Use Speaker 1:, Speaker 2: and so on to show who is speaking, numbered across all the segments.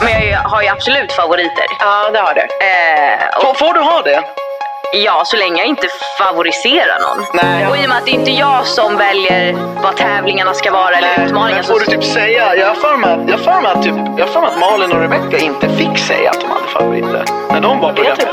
Speaker 1: Men jag har ju absolut favoriter.
Speaker 2: Ja, det har du.
Speaker 1: Eh, och
Speaker 2: Får, får du ha det?
Speaker 1: ja, så länge jag inte favoriserar någon.
Speaker 2: Nej.
Speaker 1: Och i och med att det är inte jag som väljer vad tävlingarna ska vara eller utmaningar
Speaker 2: Men får du typ säga, jag har för mig att- jag har för mig att, typ, jag har för mig att Malin och Rebecca inte fick säga att de hade favoriter. När de var på det.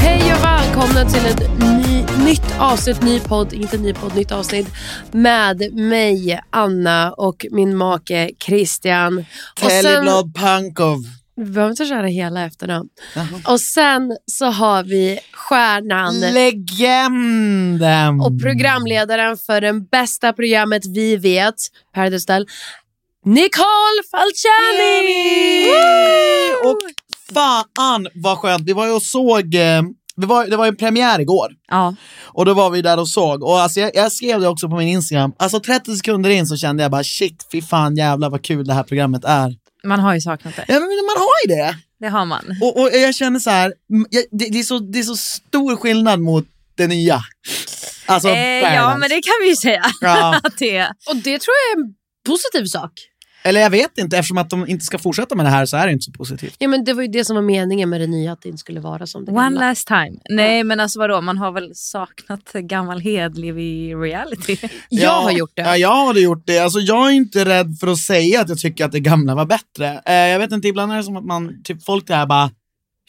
Speaker 3: Hej och välkomna till ett ny, nytt avsnitt, ny podd, inte ny podd, nytt avsnitt med mig, Anna och min make Christian. Och sen,
Speaker 4: Teleblad Pankov.
Speaker 3: vi behöver inte köra hela efternamn. Och sen så har vi stjärnan
Speaker 4: Legenden.
Speaker 3: och programledaren för det bästa programmet vi vet, Paradise Hotel, Nicole Falciani!
Speaker 4: Och fan vad skönt, vi var ju och såg, eh, vi var, det var ju en premiär igår.
Speaker 5: Ja.
Speaker 4: Och då var vi där och såg, och alltså jag, jag skrev det också på min Instagram, alltså 30 sekunder in så kände jag bara shit, fy fan jävlar vad kul det här programmet är.
Speaker 5: Man har ju saknat det.
Speaker 4: Ja men man har ju det!
Speaker 5: Det har man.
Speaker 4: Och, och jag känner så här, mm, jag, det, det, är så, det är så stor skillnad mot det nya. Alltså
Speaker 5: Eh, ja,
Speaker 4: Paradise.
Speaker 5: men det kan vi ju säga.
Speaker 4: Ja.
Speaker 5: Att det är.
Speaker 3: Och det tror jag är en positiv sak.
Speaker 4: Eller jag vet inte, eftersom att de inte ska fortsätta med det här så är det inte så positivt.
Speaker 3: Ja, men det var ju det som var meningen med det nya, att det inte skulle vara som det
Speaker 5: One
Speaker 3: gamla.
Speaker 5: last time. Nej, men alltså vadå, man har väl saknat gammal hedlig reality.
Speaker 3: Jag har gjort det.
Speaker 4: Ja, jag har gjort det. Alltså, jag är inte rädd för att säga att jag tycker att det gamla var bättre. Eh, jag vet inte, ibland är det som att man, typ folk där bara,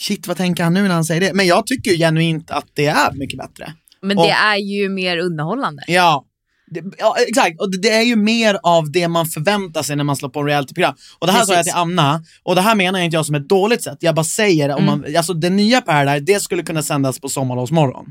Speaker 4: shit vad tänker han nu när han säger det? Men jag tycker ju genuint att det är mycket bättre.
Speaker 5: Men
Speaker 4: Och-
Speaker 5: det är ju mer underhållande.
Speaker 4: Ja. Det, ja, exakt, och det, det är ju mer av det man förväntar sig när man slår på en realityprogram. Och det här sa jag till
Speaker 5: Precis.
Speaker 4: Anna, och det här menar jag inte jag som ett dåligt sätt, jag bara säger det. Om
Speaker 5: Mm.
Speaker 4: man, alltså det nya Paradise, det skulle kunna sändas på sommarlovsmorgon.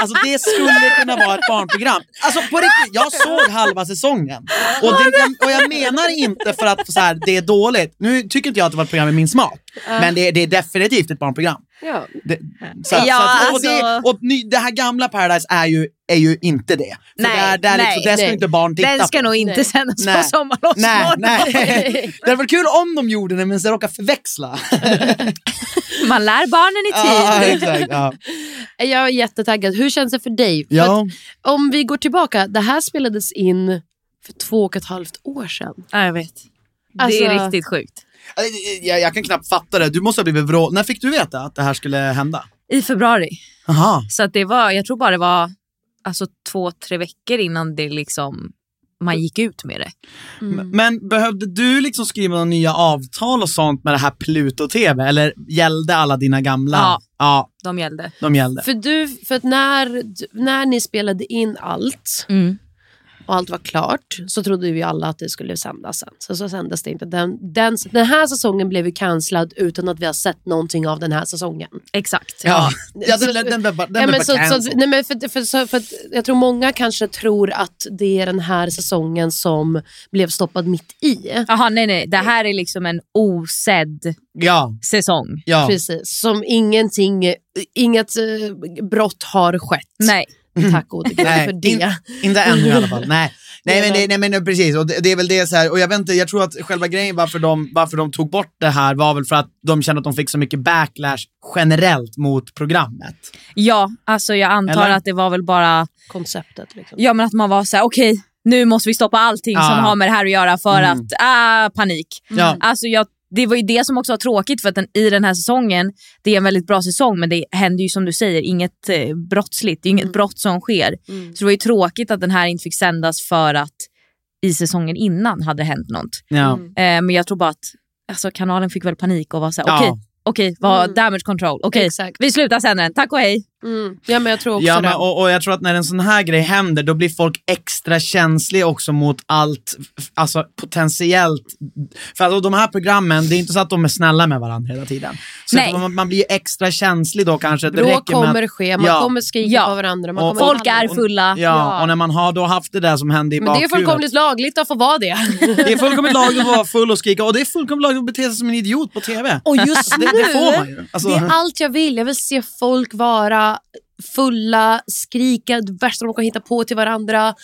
Speaker 4: Alltså det skulle kunna vara ett barnprogram. Alltså på riktigt, jag såg halva säsongen. Och, det, jag, och jag menar inte för att så här, det är dåligt. Nu tycker inte jag att det var ett program i min smak, men det, det är definitivt ett barnprogram.
Speaker 3: Ja.
Speaker 4: Det, så, att-
Speaker 5: Ja,
Speaker 4: så, att- och, det,
Speaker 5: alltså-
Speaker 4: och ny, det här gamla Paradise är ju, är ju inte det. För
Speaker 5: Nej,
Speaker 4: där, där,
Speaker 5: nej,
Speaker 4: liksom, där ska
Speaker 5: nej.
Speaker 4: inte barn titta
Speaker 5: Den ska
Speaker 4: på.
Speaker 5: nog inte
Speaker 3: Nej.
Speaker 5: sändas på
Speaker 4: Nej. Nej,
Speaker 5: sommarlovsmorgon.
Speaker 4: nej. Det hade varit kul om de gjorde det, men så råkar förväxla.
Speaker 5: Man lär barnen i
Speaker 4: ja,
Speaker 5: tid.
Speaker 4: exakt, ja.
Speaker 3: Jag är jättetaggad. Hur känns det för dig? För
Speaker 4: Ja.
Speaker 3: att om vi går tillbaka, det här spelades in för två och ett halvt år sedan.
Speaker 5: Ja, jag vet.
Speaker 3: Alltså-
Speaker 5: det är riktigt sjukt.
Speaker 4: Jag, Eh, jag kan knappt fatta det. Du måste ha blivit vrå... När fick du veta att det här skulle hända?
Speaker 5: I februari.
Speaker 4: Aha.
Speaker 5: Så att det var, jag tror bara det var alltså, två, tre veckor innan det liksom, man gick ut med det. Mm.
Speaker 4: M- Men behövde du liksom skriva några nya avtal och sånt med det här Pluto-TV? Eller gällde alla dina gamla?
Speaker 5: Ja.
Speaker 4: ja
Speaker 5: De gällde.
Speaker 4: de gällde.
Speaker 3: För, du, för att när, när ni spelade in allt
Speaker 5: Mm.
Speaker 3: och allt var klart så trodde ju vi alla att det skulle sändas sen. Så, så sändes det inte. Den, den, den här säsongen blev ju cancellad utan att vi har sett någonting av den här säsongen.
Speaker 5: Exakt.
Speaker 4: Ja, ja
Speaker 3: Så-
Speaker 4: den, den, den blev bara, den
Speaker 3: Ja,
Speaker 4: blev
Speaker 3: men
Speaker 4: bara
Speaker 3: så, så,
Speaker 4: cancelled.
Speaker 3: nej, men för, för, så, för att jag tror många kanske tror att det är den här säsongen som blev stoppad mitt i.
Speaker 5: Jaha, nej nej. Det här är liksom en osedd
Speaker 4: Ja,
Speaker 5: säsong.
Speaker 4: ja.
Speaker 3: Precis, som ingenting, inget eh, brott har skett.
Speaker 5: Nej.
Speaker 3: Tack gode gud
Speaker 4: Nej,
Speaker 3: för det.
Speaker 4: in- Inte ännu i alla fall. Nej, nej, men, det, nej men nej, precis. Och det, det är väl det så här. Och jag, vet inte, jag tror att själva grejen varför de, varför de tog bort det här var väl för att de kände att de fick så mycket backlash generellt mot programmet.
Speaker 5: Ja, alltså jag antar
Speaker 4: Eller?
Speaker 5: att det var väl bara
Speaker 3: Konceptet liksom.
Speaker 5: ja, men att man var så här: okej nu måste vi stoppa allting
Speaker 4: Ja.
Speaker 5: som har med det här att göra för
Speaker 4: Mm.
Speaker 5: att, ah, panik.
Speaker 4: Ja.
Speaker 5: Alltså jag, det var ju det som också var tråkigt för att den, i den här säsongen, det är en väldigt bra säsong men det händer ju som du säger inget eh, brottsligt, det är ju inget brott som sker.
Speaker 3: Mm.
Speaker 5: Så det var ju tråkigt att den här inte fick sändas för att i säsongen innan hade hänt något.
Speaker 4: Ja.
Speaker 3: Mm.
Speaker 5: Eh, men jag tror bara att alltså, kanalen fick väl panik och var såhär,
Speaker 4: Ja.
Speaker 5: okej, okej, vad,
Speaker 3: Mm.
Speaker 5: damage control, okej,
Speaker 3: Exakt.
Speaker 5: vi slutar sända den, tack och hej.
Speaker 3: Mm. Ja men jag tror också
Speaker 4: Ja, men,
Speaker 3: det.
Speaker 4: och, och jag tror att när en sån här grej händer, då blir folk extra känsliga också mot allt, f- alltså potentiellt. För alltså, de här programmen, det är inte så att de är snälla med varandra hela tiden. Så
Speaker 5: Nej.
Speaker 4: Man, man blir ju extra känslig då kanske. Det
Speaker 3: Bråk
Speaker 4: räcker med att-
Speaker 3: kommer ske, man
Speaker 4: Ja.
Speaker 3: kommer skrika
Speaker 5: Ja.
Speaker 3: på varandra. Man
Speaker 4: Och
Speaker 3: kommer
Speaker 5: Folk
Speaker 3: behandla
Speaker 5: är
Speaker 3: dem.
Speaker 5: fulla.
Speaker 4: Ja, och när man har då haft det där som hände i
Speaker 3: Men det är
Speaker 4: bakhuvudet.
Speaker 3: fullkomligt lagligt att få vara det.
Speaker 4: Det är fullkomligt lagligt att vara full och skrika och det är fullkomligt lagligt att bete sig som en idiot på TV.
Speaker 3: Och just nu,
Speaker 4: Det, det får man ju. Alltså,
Speaker 3: det är allt jag vill. Jag vill se folk vara fulla, skrika det värsta de kan hitta på till varandra.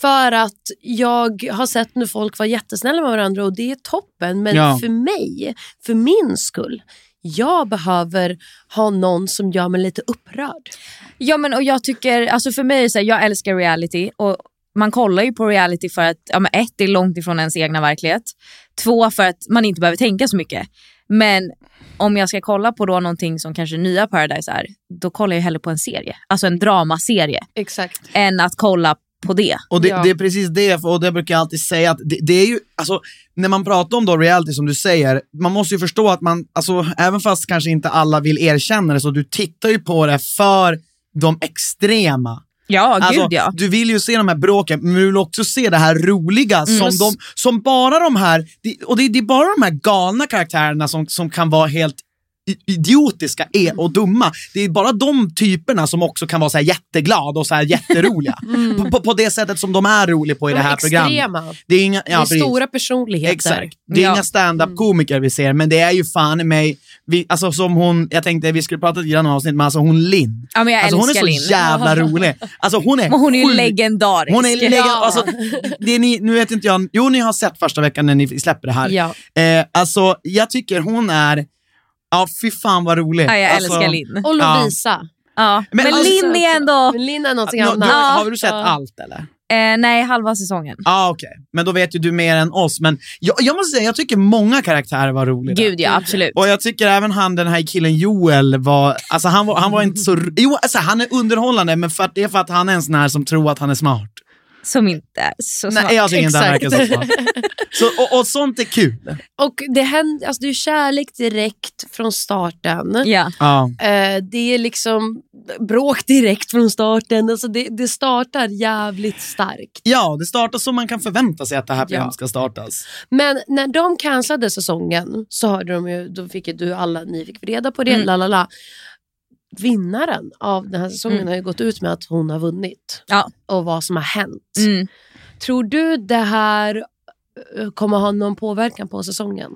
Speaker 3: För att jag har sett nu folk vara jättesnälla med varandra och det är toppen. Men
Speaker 4: Ja.
Speaker 3: för mig, för min skull, jag behöver ha någon som gör mig lite upprörd.
Speaker 5: Ja men och jag tycker, alltså för mig är det så här, jag älskar reality och man kollar ju på reality för att, ja men ett, det är långt ifrån ens egna verklighet. Två, för att man inte behöver tänka så mycket. Men om jag ska kolla på då någonting som kanske nya Paradise är, då kollar jag hellre på en serie. Alltså en dramaserie.
Speaker 3: Exakt.
Speaker 5: Än att kolla på det.
Speaker 4: Och det,
Speaker 3: Ja.
Speaker 4: det är precis det, för- och det brukar jag alltid säga att det, det är ju, alltså när man pratar om då reality som du säger, man måste ju förstå att man, alltså även fast kanske inte alla vill erkänna det, så du tittar ju på det för de extrema.
Speaker 5: Ja,
Speaker 4: Alltså,
Speaker 5: gud ja.
Speaker 4: Du vill ju se de här bråken, men du vill också se det här roliga som,
Speaker 3: Och s-
Speaker 4: de, som bara de här, det- och det, det är bara de här galna karaktärerna som, som kan vara helt i- idiotiska e- och dumma. Det är bara de typerna som också kan vara så här jätteglada och så här jätteroliga. på, på, på det sättet som de är roliga på i det här programmet.
Speaker 3: extrema.
Speaker 4: Det är, inga, ja,
Speaker 3: det är
Speaker 4: precis.
Speaker 3: stora personligheter.
Speaker 4: Exakt. Det är
Speaker 5: Ja.
Speaker 4: inga stand-up-komiker vi ser, men det är ju fan i mig, vi, alltså som hon, jag tänkte vi skulle prata lite grann om avsnitt, men alltså hon Linn.
Speaker 5: Ja, men jag
Speaker 4: Alltså hon är
Speaker 5: älskar
Speaker 4: så
Speaker 5: Linn.
Speaker 4: jävla rolig. Alltså hon är
Speaker 5: Men hon är ju
Speaker 4: sjuk.
Speaker 5: legendarisk.
Speaker 4: Hon är lägga,
Speaker 5: Ja.
Speaker 4: alltså, det är ni, nu vet inte jag, jo ni har sett första veckan när ni släpper det här.
Speaker 3: Ja.
Speaker 4: Eh, alltså jag tycker hon är, ja fy fan vad rolig.
Speaker 5: ja, jag
Speaker 4: alltså,
Speaker 5: älskar Linn.
Speaker 3: Och
Speaker 4: Ja.
Speaker 3: Lovisa.
Speaker 5: Ja. Men,
Speaker 4: alltså-
Speaker 5: Linn är ändå...
Speaker 3: Men Linn är någonting
Speaker 4: nå-
Speaker 3: annat.
Speaker 4: då- har du sett
Speaker 3: Ja.
Speaker 4: allt eller?
Speaker 5: Eh, nej, halva säsongen.
Speaker 4: Ja okej, men då vet ju du mer än oss. Men jag, jag måste säga, jag tycker många karaktärer var roliga.
Speaker 5: Gud ja, absolut.
Speaker 4: Och jag tycker även han, den här killen Joel var, alltså han var, han var inte så, jo alltså han är underhållande men för att, det är för att han är en sån här som tror att han är smart.
Speaker 5: Som inte är så smart.
Speaker 4: Nej jag tycker inte han verkar
Speaker 3: Exakt.
Speaker 4: så smart. Så, och, och sånt är kul.
Speaker 3: Och det, händer, alltså det är kärlek direkt från starten.
Speaker 5: Ja.
Speaker 4: Ja.
Speaker 3: Eh, det är liksom bråk direkt från starten. Alltså det, det startar jävligt starkt.
Speaker 4: Ja, det startas som man kan förvänta sig att det här programmet
Speaker 3: Ja.
Speaker 4: ska startas.
Speaker 3: Men när de cancellade säsongen så hörde de ju, då fick ju du alla, ni fick reda på det,
Speaker 5: Mm.
Speaker 3: la la la. Vinnaren av den här säsongen
Speaker 5: Mm.
Speaker 3: har ju gått ut med att hon har vunnit
Speaker 5: Ja.
Speaker 3: och vad som har hänt.
Speaker 5: Mm.
Speaker 3: Tror du det här eh, kommer ha någon påverkan på säsongen?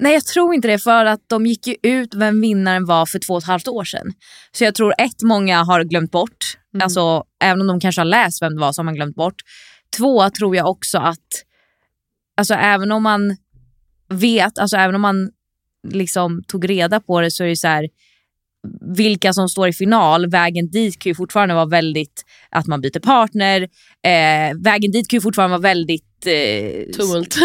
Speaker 5: Nej jag tror inte det för att de gick ju ut vem vinnaren var för två och ett halvt år sedan. Så jag tror ett, många har glömt bort.
Speaker 3: Mm.
Speaker 5: Alltså även om de kanske har läst vem det var så har man glömt bort. Två tror jag också att, alltså även om man vet, alltså även om man liksom tog reda på det så är det så här vilka som står i final, vägen dit kan ju fortfarande vara väldigt att man byter partner. Eh, vägen dit kan ju fortfarande vara väldigt... Eh,
Speaker 3: Tumult.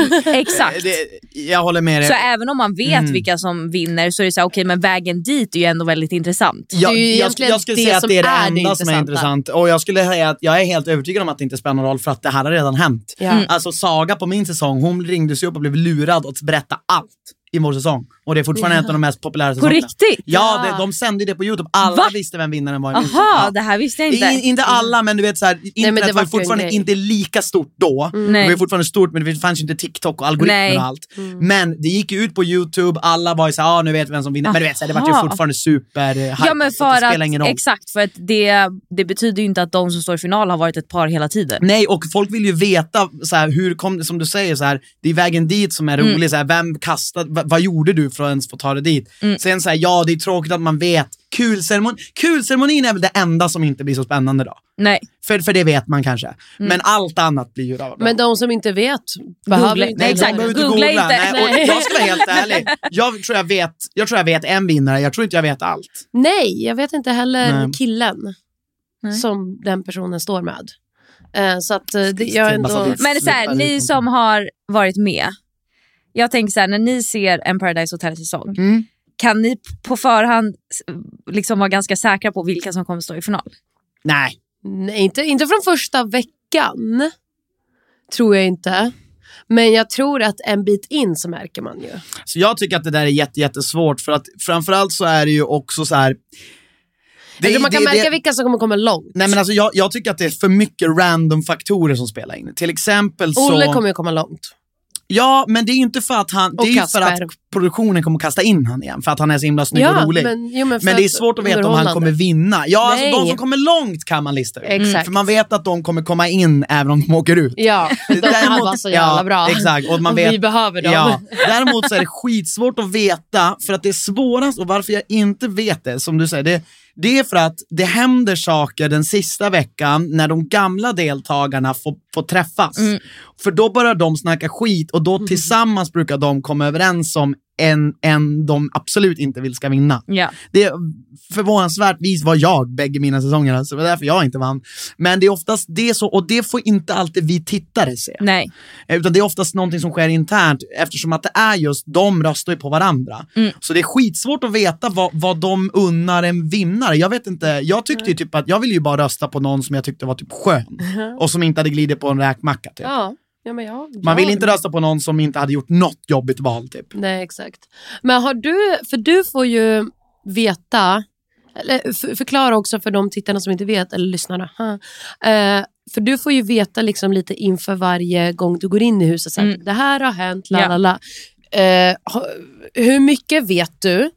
Speaker 5: Exakt.
Speaker 4: Det, jag håller med dig.
Speaker 5: Så även om man vet
Speaker 4: Eh, Mm.
Speaker 5: vilka som vinner så är det så här, okej men vägen dit är ju ändå väldigt intressant.
Speaker 4: jag,
Speaker 3: det är ju
Speaker 4: jag,
Speaker 3: egentligen
Speaker 4: jag skulle
Speaker 3: det
Speaker 4: säga att
Speaker 3: som
Speaker 4: det är det
Speaker 3: är det
Speaker 4: enda som
Speaker 3: intressanta.
Speaker 4: är intressant. Och jag skulle säga att jag är helt övertygad om att det inte spelar någon roll för att det här har redan hänt.
Speaker 3: Ja.
Speaker 5: Mm.
Speaker 4: Alltså Saga på min säsong, hon ringdes ju upp och blev lurad att berätta allt i vår säsong. Och det är fortfarande en av de mest populära
Speaker 5: På
Speaker 4: säsongerna.
Speaker 5: riktigt?
Speaker 4: Ja,
Speaker 3: Ja.
Speaker 4: det, de sände ju det på YouTube. Alla
Speaker 5: Va?
Speaker 4: visste vem vinnaren var. i min säsong.
Speaker 5: Aha,
Speaker 4: Ja.
Speaker 5: det här visste jag inte. Mm.
Speaker 4: In, inte alla, men du vet så här, internet
Speaker 3: men det vart
Speaker 4: var ju
Speaker 3: ju en
Speaker 4: fortfarande
Speaker 3: grej. Mm.
Speaker 4: inte lika stort då. Det var
Speaker 5: Nej.
Speaker 4: ju fortfarande stort, men det fanns ju inte TikTok och algoritmer
Speaker 5: Nej.
Speaker 4: och allt.
Speaker 3: Mm.
Speaker 4: Men det gick ju ut på YouTube, alla var ju såhär, ah, nu vet vi vem som vinner. Men du vet, så här, det var ju
Speaker 5: Aha.
Speaker 4: fortfarande super eh, hype,
Speaker 5: Ja men
Speaker 4: så det
Speaker 5: för
Speaker 4: spelar ingen
Speaker 5: att,
Speaker 4: roll.
Speaker 5: exakt för att det, det betyder ju inte att de som står i final har varit ett par hela tiden.
Speaker 4: Nej, och
Speaker 5: Mm.
Speaker 4: folk vill ju veta, så här, hur kom det, som du säger, så här, det är vägen dit som är rolig. Så här, vem kastar, vad, vad gjorde du för att ens få ta det dit?
Speaker 5: Mm.
Speaker 4: Sen så här, ja det är tråkigt att man vet. Kulceremon, kulceremonin är väl det enda som inte blir så spännande då.
Speaker 5: Nej.
Speaker 4: För, för det vet man
Speaker 5: Mm.
Speaker 4: kanske. Men allt annat blir ju bra.
Speaker 3: Men de som inte vet behöver inte
Speaker 5: Nej,
Speaker 4: Nej,
Speaker 5: exakt.
Speaker 4: de behöver
Speaker 3: heller.
Speaker 4: inte
Speaker 5: Googla
Speaker 4: googla.
Speaker 5: inte.
Speaker 4: Nej, och
Speaker 5: Nej.
Speaker 4: jag ska vara helt ärlig. Jag tror jag, vet, jag tror jag vet en vinnare, jag tror inte jag vet allt.
Speaker 3: Nej, jag vet inte heller
Speaker 4: Nej.
Speaker 3: killen
Speaker 5: Nej.
Speaker 3: som den personen står med. Eh, Så att eh, det, jag är
Speaker 4: Massa
Speaker 3: ändå...
Speaker 4: vits.
Speaker 5: Men det är så här,
Speaker 4: Sluta
Speaker 5: ni
Speaker 4: lite.
Speaker 5: som har varit med. Jag tänker så här, när ni ser en Paradise Hotel-säsong,
Speaker 4: Mm.
Speaker 5: kan ni på förhand s- liksom vara ganska säkra på vilka som kommer stå i final?
Speaker 4: Nej.
Speaker 3: Nej, inte, inte från första veckan. Tror jag inte. Men jag tror att en bit in så märker man ju.
Speaker 4: Så jag tycker att det där är jätte, jättesvårt för att framförallt så är det ju också så här. Det-
Speaker 3: Eller Alltså, man kan
Speaker 4: det-
Speaker 3: märka
Speaker 4: det-
Speaker 3: vilka som kommer komma långt.
Speaker 4: Nej men alltså jag, jag tycker att det är för mycket random faktorer som spelar in. Till exempel alltså, så...
Speaker 3: Olle kommer ju komma långt.
Speaker 4: Ja, men det är ju inte för att han... Det
Speaker 3: Och
Speaker 4: är ju för att
Speaker 3: Kasper.
Speaker 4: produktionen kommer kasta in han igen, för att han är så himla snygg
Speaker 3: Ja,
Speaker 4: och rolig. Men,
Speaker 3: men- jo, men för
Speaker 4: det är
Speaker 3: att-
Speaker 4: svårt att veta om han
Speaker 3: underhållande.
Speaker 4: kommer vinna. Ja, alltså de
Speaker 3: Nej.
Speaker 4: som kommer långt kan man lista ut.
Speaker 3: Exakt.
Speaker 4: Mm, För man vet att de kommer komma in även om de åker ut.
Speaker 3: Ja, de här var så jävla bra.
Speaker 4: Exakt, och man
Speaker 3: Och
Speaker 4: vet,
Speaker 3: vi behöver dem.
Speaker 4: Ja. Däremot så är det skitsvårt att veta, för att det är svårast, och varför jag inte vet det, som du säger, det, det är för att det händer saker den sista veckan när de gamla deltagarna får, får träffas.
Speaker 3: Mm.
Speaker 4: För då börjar de snacka skit och då tillsammans brukar de komma överens om en, en de absolut inte vill ska vinna.
Speaker 5: Ja.
Speaker 4: Det är förvånansvärt vis var jag bägge mina säsonger, så det var därför jag inte vann. Men det är oftast det så, och det får inte alltid vi tittare se.
Speaker 3: Mm.
Speaker 5: Nej.
Speaker 4: Eh, Utan det är oftast någonting som sker internt eftersom att det är just de röstar ju på varandra.
Speaker 3: Mm.
Speaker 4: Så det är skitsvårt att veta vad, vad de unnar en vinnare. Jag vet inte, jag tyckte
Speaker 3: Mm.
Speaker 4: ju typ att jag ville ju bara rösta på någon som jag tyckte var typ skön och som inte hade glidit på en räkmacka typ.
Speaker 3: Uh-huh. Ja. Ja, men ja,
Speaker 4: Man vill
Speaker 3: ja.
Speaker 4: inte rösta på någon som inte hade gjort något jobbigt val typ.
Speaker 3: Nej, exakt. Men har du, för du får ju veta, eller för, förklara också för de tittarna som inte vet, eller lyssnarna. ha. Eh, för du får ju veta liksom lite inför varje gång du går in i huset, så här,
Speaker 5: Mm.
Speaker 3: det här har hänt, la
Speaker 5: Ja.
Speaker 3: la la. Eh, ha- Hur mycket vet du?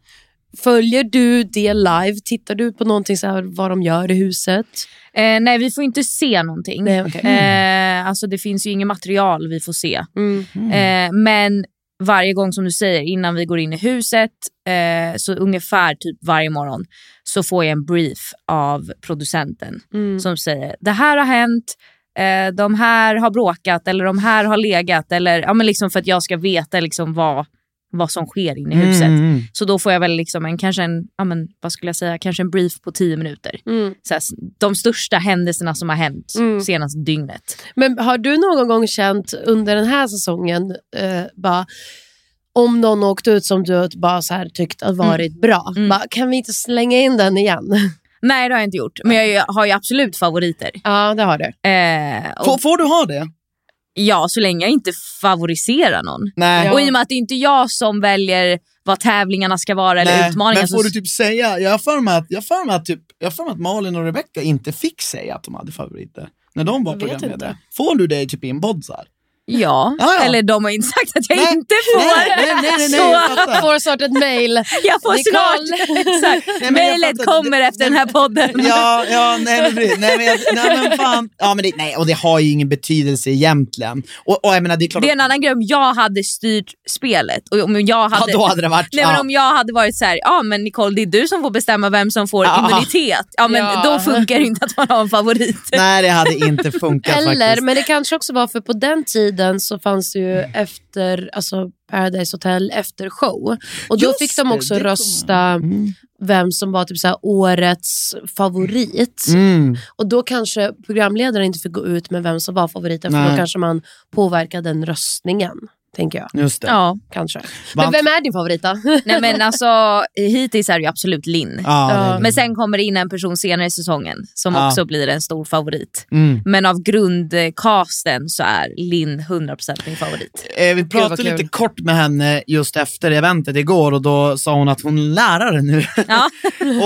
Speaker 3: Följer du det live? Tittar du på någonting så här, vad de gör i huset?
Speaker 5: Eh, nej, vi får inte se någonting.
Speaker 3: Nej, okej.
Speaker 5: Eh, alltså det finns ju inget material vi får se.
Speaker 3: Mm.
Speaker 5: Eh, men varje gång som du säger, innan vi går in i huset, eh, så ungefär typ varje morgon, så får jag en brief av producenten
Speaker 3: Mm.
Speaker 5: som säger det här har hänt, eh, de här har bråkat eller de här har legat. Eller, ja, men liksom för att jag ska veta liksom vad, vad som sker inne i huset.
Speaker 4: Mm.
Speaker 5: Så då får jag väl liksom en, kanske en, ja, men, vad skulle jag säga, kanske en brief på tio minuter.
Speaker 3: Mm.
Speaker 5: Så här, s- de största händelserna som har hänt
Speaker 3: Mm.
Speaker 5: senaste dygnet.
Speaker 3: Men har du någon gång känt under den här säsongen, eh, bara, om någon åkt ut som du bara så här tyckt har varit bra,
Speaker 5: Mm.
Speaker 3: bara, kan vi inte slänga in den igen?
Speaker 5: Nej, det har jag inte gjort. Men jag är ju- har ju absolut favoriter.
Speaker 3: ja, det har du.
Speaker 5: Eh, och,
Speaker 4: Får, får du ha det?
Speaker 5: ja, så länge jag inte favoriserar någon.
Speaker 4: Nej.
Speaker 5: Och i och med att det inte är jag som väljer vad tävlingarna ska vara eller
Speaker 4: Nej,
Speaker 5: utmaningar.
Speaker 4: men får
Speaker 5: så...
Speaker 4: du typ säga, jag har för mig att, jag har för mig att, typ, jag har för mig att Malin och Rebecca inte fick säga att de hade favoriter när de var
Speaker 3: Jag vet
Speaker 4: programledare. Får du det i typ inbodsar?
Speaker 5: Ja,
Speaker 4: Ja, ja.
Speaker 5: eller de har inte sagt att jag
Speaker 4: Nej,
Speaker 5: inte får.
Speaker 4: nej, nej, nej, nej,
Speaker 5: så
Speaker 4: jag fattar.
Speaker 3: Får snart ett mejl.
Speaker 5: jag får
Speaker 3: Nicole.
Speaker 5: snart. Exakt.
Speaker 4: jag
Speaker 5: Mejlet
Speaker 4: fattar.
Speaker 5: kommer
Speaker 4: Det-
Speaker 5: efter den här podden.
Speaker 4: Ja, ja nej, men, precis. nej, men, jag, nej men fan. Ja, men det, nej, och det har ju ingen betydelse egentligen. Och, och jag menar, det är klart
Speaker 5: Det är
Speaker 4: att-
Speaker 5: en annan grej om jag hade styrt spelet. Och om jag hade...
Speaker 4: ja, då hade det varit...
Speaker 5: Nej, men om jag hade varit så här, ja men Nicole det är du som får bestämma vem som får
Speaker 4: Ja.
Speaker 5: immunitet. Ja men
Speaker 3: Ja.
Speaker 5: då funkar det inte att man har en favorit.
Speaker 4: ja. nej det hade inte funkat
Speaker 3: Eller,
Speaker 4: faktiskt. Mm.
Speaker 3: men det kanske också var för på den tiden så fanns det ju efter, alltså Paradise Hotel efter show. Och då
Speaker 4: Just
Speaker 3: fick de
Speaker 4: det,
Speaker 3: också
Speaker 4: det kommer.
Speaker 3: rösta
Speaker 4: Mm,
Speaker 3: vem som var typ så här årets favorit.
Speaker 4: Mm.
Speaker 3: Och då kanske programledaren inte fick gå ut med vem som var favoriten för
Speaker 4: Nej.
Speaker 3: då kanske man påverkar den röstningen. Tänker jag.
Speaker 4: Just det.
Speaker 5: Ja.
Speaker 3: Kanske. Men
Speaker 4: Vant-
Speaker 3: vem är din favorit då?
Speaker 5: Nej men alltså hittills är det ju absolut Linn.
Speaker 4: Ja, det är det.
Speaker 5: Men sen kommer det in en person senare i säsongen som
Speaker 4: Ja.
Speaker 5: också blir en stor favorit.
Speaker 4: Mm.
Speaker 5: Men av grundcasten så är Linn 100% min favorit.
Speaker 4: Eh, vi
Speaker 3: vad
Speaker 4: pratade
Speaker 3: kul.
Speaker 4: lite kort med henne just efter eventet igår och då sa hon att hon är lärare nu.
Speaker 5: Ja.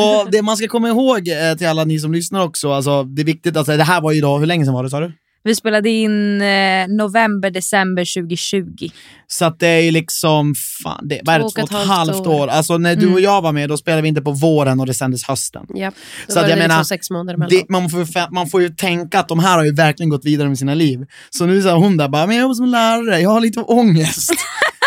Speaker 4: och det man ska komma ihåg eh, till alla ni som lyssnar också, alltså, det är viktigt att säga, det här var ju idag, hur länge sedan var det sa du?
Speaker 5: Vi spelade in eh, november, december 2020.
Speaker 4: Så att det är ju liksom, fan, det, vad är det, två och ett halvt år? Alltså när du och jag var med, då spelade vi inte på våren och det sändes hösten.
Speaker 3: Japp. Då
Speaker 4: Så
Speaker 3: var
Speaker 4: att
Speaker 3: det
Speaker 4: jag
Speaker 3: liksom
Speaker 4: menar,
Speaker 3: sex månader
Speaker 4: Det,
Speaker 3: emellan.
Speaker 4: man, får, ju fa- man får ju tänka att de här har ju verkligen gått vidare med sina liv. Så nu sa hon där bara, men jag jobbar som lärare, jag har lite ångest.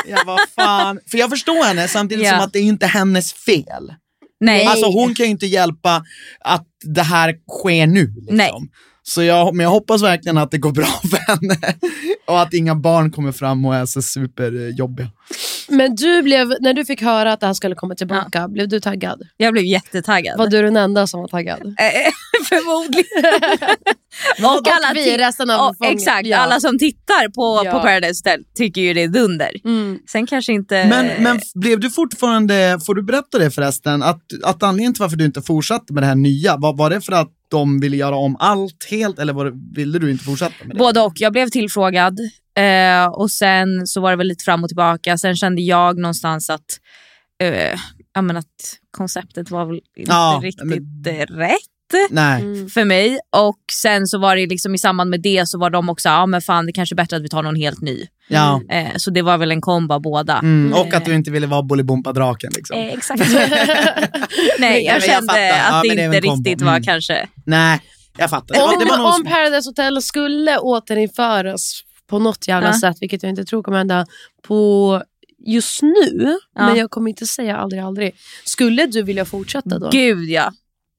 Speaker 4: Jag bara, fan. För jag förstår henne samtidigt
Speaker 5: Ja.
Speaker 4: som att det är inte hennes fel.
Speaker 5: Nej.
Speaker 4: Alltså hon kan ju inte hjälpa att det här sker nu. Liksom.
Speaker 5: Nej.
Speaker 4: Så jag, men jag hoppas verkligen att det går bra för henne. Och att inga barn kommer fram och är så superjobbiga.
Speaker 3: Men du blev, när du fick höra att det här skulle komma tillbaka, blev du taggad?
Speaker 5: Jag blev jättetaggad.
Speaker 3: Var du den enda som var taggad?
Speaker 5: Eh, Förmodligen.
Speaker 3: Och vi,
Speaker 5: ti-
Speaker 3: resten av
Speaker 5: Ja,
Speaker 3: befolkningen.
Speaker 5: Exakt,
Speaker 3: Ja.
Speaker 5: alla som tittar på,
Speaker 3: Ja.
Speaker 5: på Paradise Hotel tycker ju det är dunder.
Speaker 3: Mm.
Speaker 5: Sen kanske inte...
Speaker 4: Men, men f- blev du fortfarande, får du berätta det förresten, att, att anledningen till varför du inte fortsatte med det här nya, var, var det för att de ville göra om allt helt eller var det, ville du inte fortsätta med det?
Speaker 5: Både och. Jag blev tillfrågad eh, och sen så var det väl lite fram och tillbaka. Sen kände jag någonstans att, eh, ja, men att konceptet var väl inte
Speaker 4: Ja,
Speaker 5: riktigt
Speaker 4: men-
Speaker 5: eh, rätt
Speaker 4: Nej.
Speaker 3: Mm.
Speaker 5: för mig. Och sen så var det liksom i samband med det så var de också, ja men fan det kanske är bättre att vi tar någon helt ny.
Speaker 4: Ja.
Speaker 5: Eh, så det var väl en kombo av båda.
Speaker 4: Mm, och att du inte ville vara Bolibompa-draken. Liksom.
Speaker 5: Eh, exakt. Nej,
Speaker 4: men
Speaker 5: jag
Speaker 4: jag
Speaker 5: kände
Speaker 4: fattar. Ja,
Speaker 5: att
Speaker 4: men
Speaker 5: det
Speaker 4: det är
Speaker 5: inte
Speaker 4: en kombo.
Speaker 5: riktigt var
Speaker 4: Mm.
Speaker 5: kanske...
Speaker 4: Nej, jag fattar. Det var, det var
Speaker 3: Om,
Speaker 4: någon
Speaker 3: om
Speaker 4: som-
Speaker 3: Paradise Hotel skulle återinföras på något jävla
Speaker 5: Ja.
Speaker 3: sätt, vilket jag inte tror kommer hända på just nu,
Speaker 5: Ja.
Speaker 3: men jag kommer inte säga aldrig aldrig. Skulle du vilja fortsätta då?
Speaker 5: Gud ja.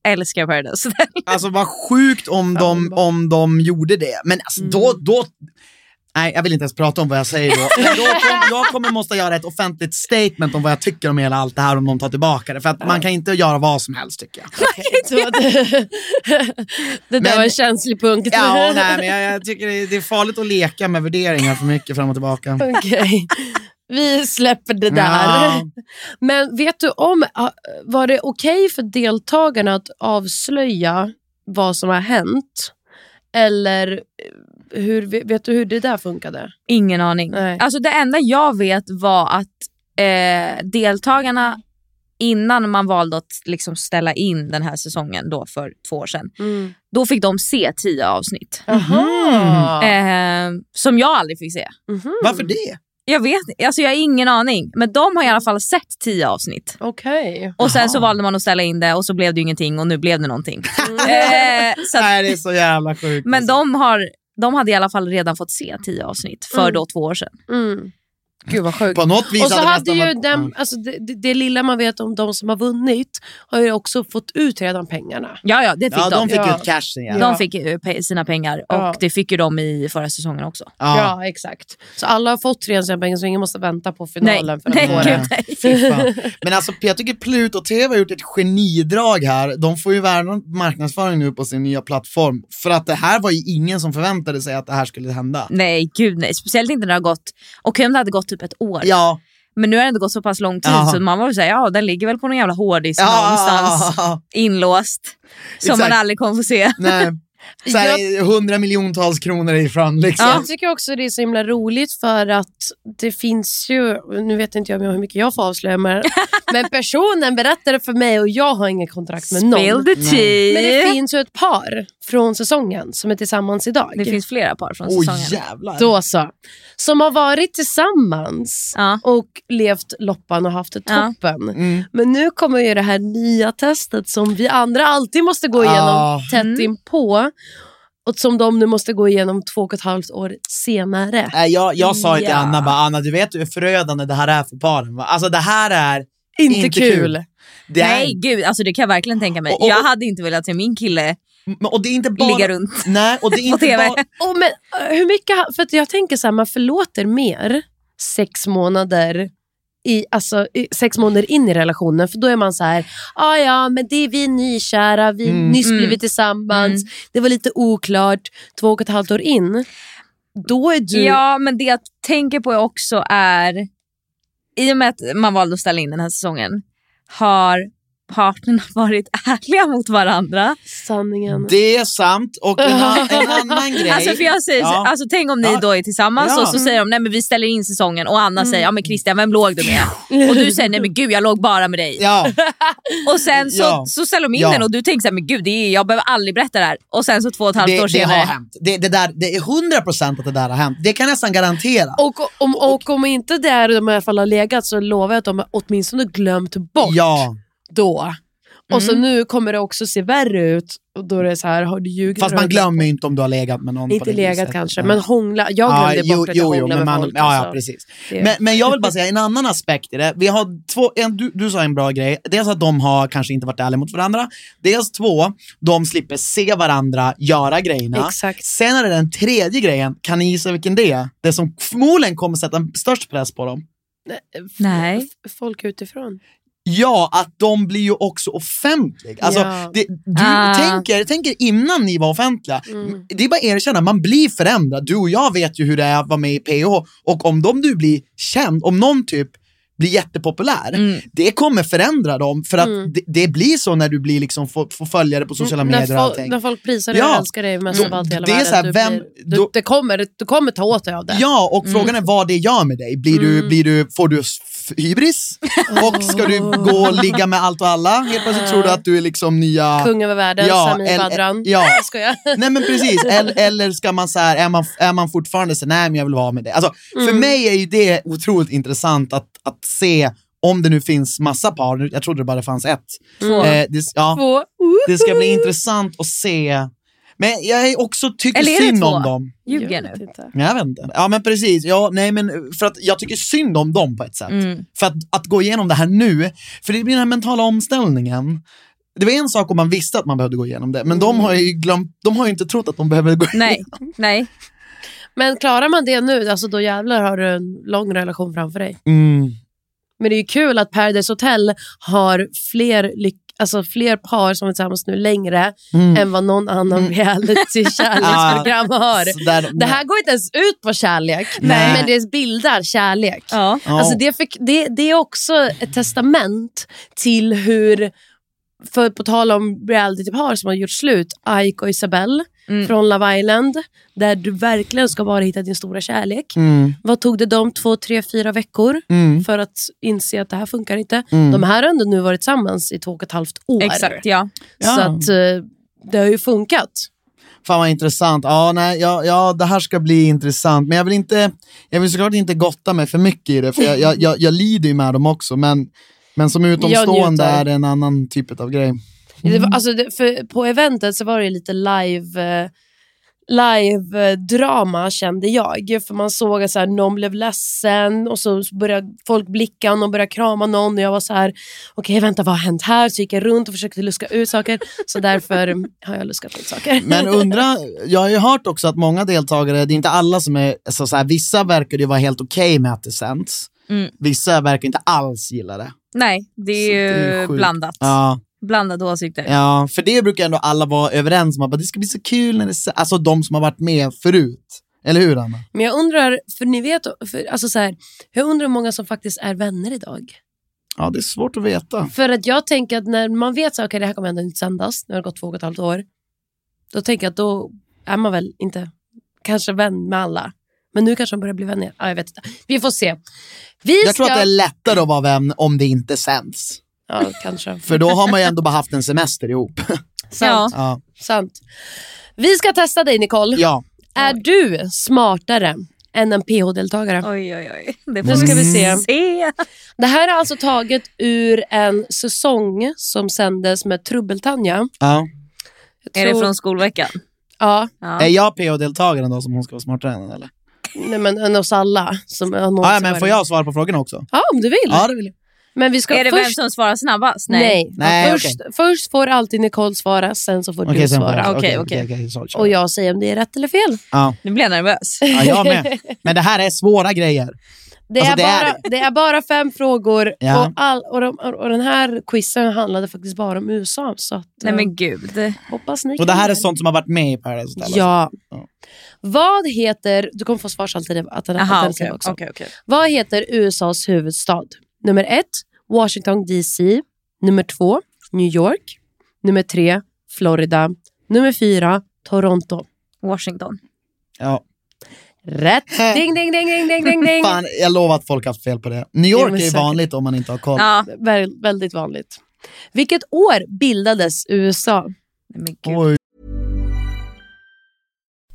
Speaker 5: Älskar Paradise Hotel.
Speaker 4: Alltså vad sjukt om de, om de gjorde det. Men alltså, då, då... Nej, jag vill inte ens prata om vad jag säger då. Men då kom, jag kommer måste göra ett offentligt statement om vad jag tycker om hela allt det här om de tar tillbaka det. För att man kan inte göra vad som helst tycker jag.
Speaker 3: Så att- det där
Speaker 4: Men-
Speaker 3: var en känslig punkt.
Speaker 4: Ja, nej, men jag, jag tycker det, det är farligt att leka med värderingar för mycket fram och tillbaka.
Speaker 3: Okej. Vi släpper det där.
Speaker 4: Ja.
Speaker 3: Men vet du om, ha- var det okej för deltagarna att avslöja vad som har hänt? Eller eh, hur, vet du hur det där funkade?
Speaker 5: Ingen aning.
Speaker 3: Nej.
Speaker 5: Alltså det enda jag vet var att eh, deltagarna innan man valde att liksom ställa in den här säsongen då för två år sedan,
Speaker 3: Mm.
Speaker 5: då fick de se tio avsnitt.
Speaker 3: Jaha.
Speaker 5: Eh, som jag aldrig fick se.
Speaker 3: Mhm.
Speaker 4: Varför det?
Speaker 5: Jag vet alltså jag har ingen aning. Men de har i alla fall sett tio avsnitt.
Speaker 3: Okej.
Speaker 5: Och sen så
Speaker 4: Jaha.
Speaker 5: valde man att ställa in det och så blev det ju ingenting och nu blev det någonting.
Speaker 3: Mm.
Speaker 5: eh, så att,
Speaker 4: Nej, det är så jävla sjukt.
Speaker 5: men
Speaker 4: alltså.
Speaker 5: de, har, de hade i alla fall redan fått se tio avsnitt för
Speaker 3: Mm.
Speaker 5: då två år sedan.
Speaker 3: Mm. Gud vad sjukt.
Speaker 4: På något vis
Speaker 3: Och så
Speaker 4: det
Speaker 3: hade
Speaker 4: nästan
Speaker 3: ju
Speaker 4: varit-
Speaker 3: den, alltså det, det, det lilla man vet om de som har vunnit har ju också fått ut redan pengarna.
Speaker 5: Ja, ja, det fick
Speaker 4: Ja, de fick
Speaker 3: Ja.
Speaker 4: ut cashen. Ja.
Speaker 5: De fick ju pe- sina pengar och
Speaker 3: Ja.
Speaker 5: det fick ju de i förra säsongen också.
Speaker 3: Ja,
Speaker 4: Ja.
Speaker 3: exakt. Så alla har fått redan sina pengar så ingen måste vänta på finalen för att
Speaker 5: nej,
Speaker 3: få
Speaker 5: gud,
Speaker 3: det.
Speaker 5: nej.
Speaker 4: Fy fan. Men alltså, jag tycker Pluto TV har gjort ett genidrag här. De får ju världens marknadsföring nu på sin nya plattform. För att det här var ju ingen som förväntade sig att det här skulle hända.
Speaker 5: nej, gud nej. Speciellt inte när det har gått, okej om det hade gått typ ett år.
Speaker 4: Ja,
Speaker 5: Men nu har det ändå gått så pass lång tid
Speaker 4: Ja.
Speaker 5: så man var väl såhär, ja den ligger väl på någon jävla hårddisk någonstans.
Speaker 4: ja.
Speaker 5: Inlåst. Som
Speaker 4: Exakt.
Speaker 5: man aldrig kommer få se.
Speaker 4: Nej. Så här, hundra miljontals kronor ifrån liksom.
Speaker 3: Jag tycker också det är så himla roligt för att det finns ju, nu vet inte jag hur mycket jag får avslöja men, men personen berättade för mig och jag har inget kontrakt med
Speaker 5: Spill
Speaker 3: någon.
Speaker 5: the tea.
Speaker 3: Men det finns ju ett par från säsongen som är tillsammans idag.
Speaker 5: Det finns flera par från
Speaker 4: Åh
Speaker 5: säsongen.
Speaker 4: jävlar.
Speaker 3: Då så. Som har varit tillsammans
Speaker 5: Ja.
Speaker 3: och levt loppan och haft det
Speaker 5: Ja.
Speaker 3: toppen.
Speaker 4: Mm.
Speaker 3: Men nu kommer ju det här nya testet som vi andra alltid måste gå igenom
Speaker 4: Ah.
Speaker 3: tätt
Speaker 5: Mm.
Speaker 3: inpå. Och som de nu måste gå igenom två och ett halvt år senare.
Speaker 4: Nej, jag, jag sa ju till
Speaker 5: Ja.
Speaker 4: Anna, bara, Anna du vet hur förödande det här är för paren. Va? Alltså det här är...
Speaker 3: Inte,
Speaker 4: Inte
Speaker 3: kul.
Speaker 4: kul. Det är
Speaker 5: Nej gud, alltså det kan jag verkligen tänka mig.
Speaker 4: Och- och-
Speaker 5: jag hade inte velat se min kille
Speaker 4: Men- Och det är inte bara...
Speaker 5: ligga runt.
Speaker 4: Nej, och det är
Speaker 5: på
Speaker 4: inte
Speaker 5: TV.
Speaker 4: bara...
Speaker 3: Och men, eh, hur mycket, ha- för att jag tänker så här, man förlåter mer sex månader i, alltså, i, sex månader in i relationen, för då är man så här, ah, ja men det är vi nykära, vi
Speaker 4: Mm.
Speaker 3: nyss
Speaker 5: Mm.
Speaker 3: blivit tillsammans, det var lite oklart, två och ett halvt år in. Då är du...
Speaker 5: Ja, men det jag tänker på också är, i och med att man valde att ställa in den här säsongen, har partnerna varit ärliga mot varandra?
Speaker 3: Sanningen.
Speaker 4: Det är sant. Och en, an- en annan grej...
Speaker 5: Alltså, för jag säger, så-
Speaker 4: Ja.
Speaker 5: alltså, tänk om ni
Speaker 4: Ja.
Speaker 5: då är tillsammans
Speaker 4: Ja. Mm.
Speaker 5: och så säger de nej men vi ställer in säsongen och Anna säger ja men Christian vem låg du med? Och du säger nej men gud jag låg bara med dig.
Speaker 4: Ja.
Speaker 5: Och sen så,
Speaker 4: Ja.
Speaker 5: så ställer de in
Speaker 4: Ja.
Speaker 5: den och du tänker så här, men gud det är, jag behöver aldrig berätta det här. Och sen så två och ett halvt
Speaker 4: det,
Speaker 5: år
Speaker 4: det
Speaker 5: senare.
Speaker 4: har hänt. Det, det, där, det är 100 procent att det där har hänt. Det kan jag nästan garantera.
Speaker 3: Och om, och om inte det är de i alla fall har legat så lovar jag att de har åtminstone glömt bort
Speaker 4: Ja,
Speaker 3: då. Och
Speaker 4: Mm.
Speaker 3: så nu kommer det också se värre ut. Och då är det så här, har du ljugit?
Speaker 4: Fast
Speaker 3: Har du-
Speaker 4: man glömmer ju inte om du har legat med någon. på
Speaker 3: Inte
Speaker 4: det
Speaker 3: legat
Speaker 4: viset.
Speaker 3: kanske,
Speaker 4: Ja.
Speaker 3: men hångla. Jag glömde
Speaker 4: Ja,
Speaker 3: bort att
Speaker 4: jo,
Speaker 3: jag
Speaker 4: jo,
Speaker 3: hånglar
Speaker 4: men
Speaker 3: med
Speaker 4: man-
Speaker 3: folk.
Speaker 4: Ja, ja,
Speaker 3: alltså.
Speaker 4: precis.
Speaker 3: Det-
Speaker 4: Men, men jag vill bara säga en annan aspekt i det. Vi har två, en, du, du sa en bra grej. Dels att de har kanske inte varit ärliga mot varandra. Dels två, de slipper se varandra göra grejerna.
Speaker 3: Exakt.
Speaker 4: Sen är det den tredje grejen. Kan ni gissa vilken det är? Det som förmodligen kommer sätta störst press på dem.
Speaker 5: Nej.
Speaker 3: F- Folk utifrån.
Speaker 4: Ja, att de blir ju också offentliga. Alltså,
Speaker 3: Ja.
Speaker 4: det, du
Speaker 5: Ah.
Speaker 4: tänker, tänker innan ni var offentliga.
Speaker 3: Mm.
Speaker 4: Det är bara att erkänna, man blir förändrad. Du och jag vet ju hur det är att vara med i PH. Och om de nu blir känd, om någon typ blir jättepopulär,
Speaker 5: Mm.
Speaker 4: det kommer förändra dem. För att
Speaker 3: Mm.
Speaker 4: det, det blir så när du blir liksom, får, får följare på sociala
Speaker 3: när,
Speaker 4: medier och
Speaker 3: fol-
Speaker 4: allting.
Speaker 3: när folk prisar dig
Speaker 4: Ja.
Speaker 3: och älskar dig mest
Speaker 5: Mm.
Speaker 3: av allt i hela
Speaker 4: Det är
Speaker 3: världen.
Speaker 4: så här,
Speaker 3: du,
Speaker 4: vem-
Speaker 3: blir, du,
Speaker 4: då-
Speaker 3: det kommer, du kommer ta åt dig av det.
Speaker 4: Ja, och frågan är vad det gör med dig. Blir du,
Speaker 3: Mm.
Speaker 4: blir du, får du f- hybris? Och ska du gå och ligga med allt och alla? Helt plötsligt tror du att du är liksom nya...
Speaker 3: Kung över världen,
Speaker 4: Ja,
Speaker 3: Samir
Speaker 4: el-
Speaker 3: Badran.
Speaker 4: ja.
Speaker 3: Jag skojar.
Speaker 4: Nej men precis, eller, eller ska man så här, är man, är man fortfarande så nej men jag vill vara med dig. Alltså, För
Speaker 3: Mm.
Speaker 4: mig är ju det otroligt intressant att, att se om det nu finns massa par, Nu- jag trodde det bara fanns ett.
Speaker 5: Två.
Speaker 4: Eh, det, ja,
Speaker 3: Två.
Speaker 4: det ska bli intressant att se. Men jag är också tycker
Speaker 5: Eller är det
Speaker 4: synd
Speaker 5: två?
Speaker 4: om dem.
Speaker 5: Ljuger
Speaker 3: Jag
Speaker 5: jag
Speaker 3: vet
Speaker 5: nu?
Speaker 3: inte.
Speaker 4: Jag vet inte. Ja men precis, ja, nej, men för att jag tycker synd om dem på ett sätt.
Speaker 5: Mm.
Speaker 4: För att, att gå igenom det här nu, för det blir den här mentala omställningen. Det var en sak om man visste att man behövde gå igenom det, men de
Speaker 5: Mm.
Speaker 4: har ju glömt, de har ju inte trott att de behöver gå
Speaker 5: Nej, nej.
Speaker 3: Men klarar man det nu, alltså då jävlar har du en lång relation framför dig.
Speaker 4: Mm.
Speaker 3: Men det är ju kul att Paradise Hotel har fler, lyck- alltså fler par som är tillsammans nu längre
Speaker 4: Mm.
Speaker 3: än vad någon annan reality-kärleksprogram har.
Speaker 4: Så där-
Speaker 3: Det här går inte ens ut på kärlek,
Speaker 4: Nej.
Speaker 3: men det bildar kärlek.
Speaker 5: Ja.
Speaker 4: Ja.
Speaker 3: Alltså det, fick, det, det är också ett testament till hur, för på tal om realitypar som har gjort slut, Ike och Isabelle
Speaker 5: Mm.
Speaker 3: från Love Island, där du verkligen ska bara hitta din stora kärlek.
Speaker 4: Mm.
Speaker 3: Vad tog det dem två, tre, fyra veckor
Speaker 4: Mm.
Speaker 3: för att inse att det här funkar inte?
Speaker 4: Mm.
Speaker 3: De här har ändå nu varit tillsammans i två och ett halvt år.
Speaker 5: Exakt, ja.
Speaker 3: Så
Speaker 4: Ja.
Speaker 3: att, eh, det har ju funkat.
Speaker 4: Fan vad intressant. Ja, nej, ja, ja, det här ska bli intressant. Men jag vill, inte, jag vill såklart inte gotta mig för mycket i det, för jag, jag, jag, jag lider ju med dem också. Men, men som utomstående
Speaker 3: njuter.
Speaker 4: är det en annan typ av grej.
Speaker 3: Det var, alltså, det, för på eventet så var det lite live... eh, live-drama kände jag. För man såg att så här, någon blev ledsen och så började folk blicka och någon började krama någon och jag var så här, okej vänta vad har hänt här? Så gick jag runt och försökte luska ut saker. Så därför har jag luskat ut saker.
Speaker 4: Men undra, jag har ju hört också att många deltagare, det är inte alla som är, så, så här, vissa verkar ju vara helt okej med att det sänds.
Speaker 5: Mm.
Speaker 4: Vissa verkar inte alls gilla det.
Speaker 5: Nej, det är
Speaker 4: Så det är
Speaker 5: ju
Speaker 4: sjukt.
Speaker 5: blandat.
Speaker 4: Ja,
Speaker 5: Blandade åsikter.
Speaker 4: ja, för det brukar ändå alla vara överens om. Att bara, det ska bli så kul när det sänds. Alltså de som har varit med förut. Eller hur Anna?
Speaker 3: Men jag undrar, för ni vet, för, alltså så här, jag undrar hur många som faktiskt är vänner idag.
Speaker 4: Ja, det är svårt att veta.
Speaker 3: För att jag tänker att när man vet att okay, det här kommer ändå inte sändas, nu har det gått två och ett halvt år. Då tänker jag att då är man väl inte kanske vän med alla. Men nu kanske de börjar bli vänner. Ja, jag vet inte. Vi får se. Vi
Speaker 4: Jag
Speaker 3: ska...
Speaker 4: tror att det är lättare att vara vän om det inte sänds.
Speaker 3: Ja, kanske.
Speaker 4: För då har man ju ändå bara haft en semester ihop.
Speaker 5: Ja.
Speaker 3: Sant,
Speaker 4: Ja,
Speaker 3: sant. Vi ska testa dig Nicole.
Speaker 4: ja.
Speaker 3: Är du smartare än en PH-deltagare?
Speaker 5: Oj, oj, oj.
Speaker 4: Mm.
Speaker 5: Det
Speaker 3: Nu ska vi se.
Speaker 5: se.
Speaker 3: Det här är alltså taget ur en säsong som sändes med Trubbeltanja.
Speaker 4: ja.
Speaker 3: Jag
Speaker 5: Är det
Speaker 3: tror-
Speaker 5: från skolveckan?
Speaker 3: Ja,
Speaker 4: Är
Speaker 5: Ja.
Speaker 4: jag PO-deltagaren då som hon ska vara smartare än? Eller?
Speaker 3: nej, men än oss alla. Som har någonsin
Speaker 4: Ja, men får
Speaker 3: varit-
Speaker 4: jag svara på frågorna också?
Speaker 3: Ja, om du vill.
Speaker 4: Ja, det vill jag.
Speaker 3: Men vi ska
Speaker 5: Är det vem
Speaker 3: först...
Speaker 5: som svarar snabbast?
Speaker 3: Nej.
Speaker 4: Nej,
Speaker 3: Ja, först, först får alltid Nicole svara, sen så får
Speaker 4: Okej,
Speaker 3: du
Speaker 4: sen får
Speaker 3: svara.
Speaker 4: jag.
Speaker 5: Okej,
Speaker 4: Okej,
Speaker 5: okej.
Speaker 4: okej, okej, sorry, sorry.
Speaker 3: Och jag säger om det är rätt eller fel.
Speaker 4: Ja,
Speaker 5: Nu blir jag nervös.
Speaker 4: ja, jag med. Men det här är svåra grejer.
Speaker 3: Det,
Speaker 4: Alltså,
Speaker 3: är,
Speaker 4: det är
Speaker 3: bara, det är bara fem frågor
Speaker 4: Ja.
Speaker 3: och, all, och, de, och den här quizen handlade faktiskt bara om USA. Så att,
Speaker 5: Nej
Speaker 3: eh,
Speaker 5: men gud.
Speaker 3: hoppas ni
Speaker 4: Och det
Speaker 3: kan
Speaker 4: här är
Speaker 3: det.
Speaker 4: sånt som har varit med i Paradise Hotel. alltså.
Speaker 3: Ja.
Speaker 4: Ja.
Speaker 3: Vad heter, du kommer få svarsalternativet att den
Speaker 5: Aha,
Speaker 3: att den
Speaker 5: okej.
Speaker 3: ska också.
Speaker 5: okej, okej.
Speaker 3: Vad heter USAs huvudstad? Nummer ett, Washington DC. Nummer två, New York. Nummer tre, Florida. Nummer fyra, Toronto.
Speaker 5: Washington.
Speaker 4: Ja.
Speaker 3: Rätt. Ding, ding, ding, ding, ding, ding, ding.
Speaker 4: Fan, jag lovar att folk har haft fel på det. New
Speaker 3: Ja,
Speaker 4: York
Speaker 3: men
Speaker 4: är ju
Speaker 3: säkert.
Speaker 4: vanligt om man inte har koll.
Speaker 5: Ja.
Speaker 3: Vä- väldigt vanligt. Vilket år bildades USA?
Speaker 5: Nej, men gud.
Speaker 4: Oj.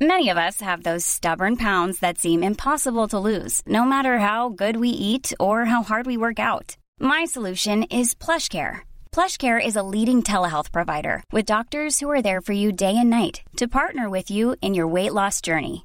Speaker 6: Many of us have those stubborn pounds that seem impossible to lose, no matter how good we eat or how hard we work out. My solution is PlushCare. PlushCare is a leading telehealth provider with doctors who are there for you day and night to partner with you in your weight loss journey.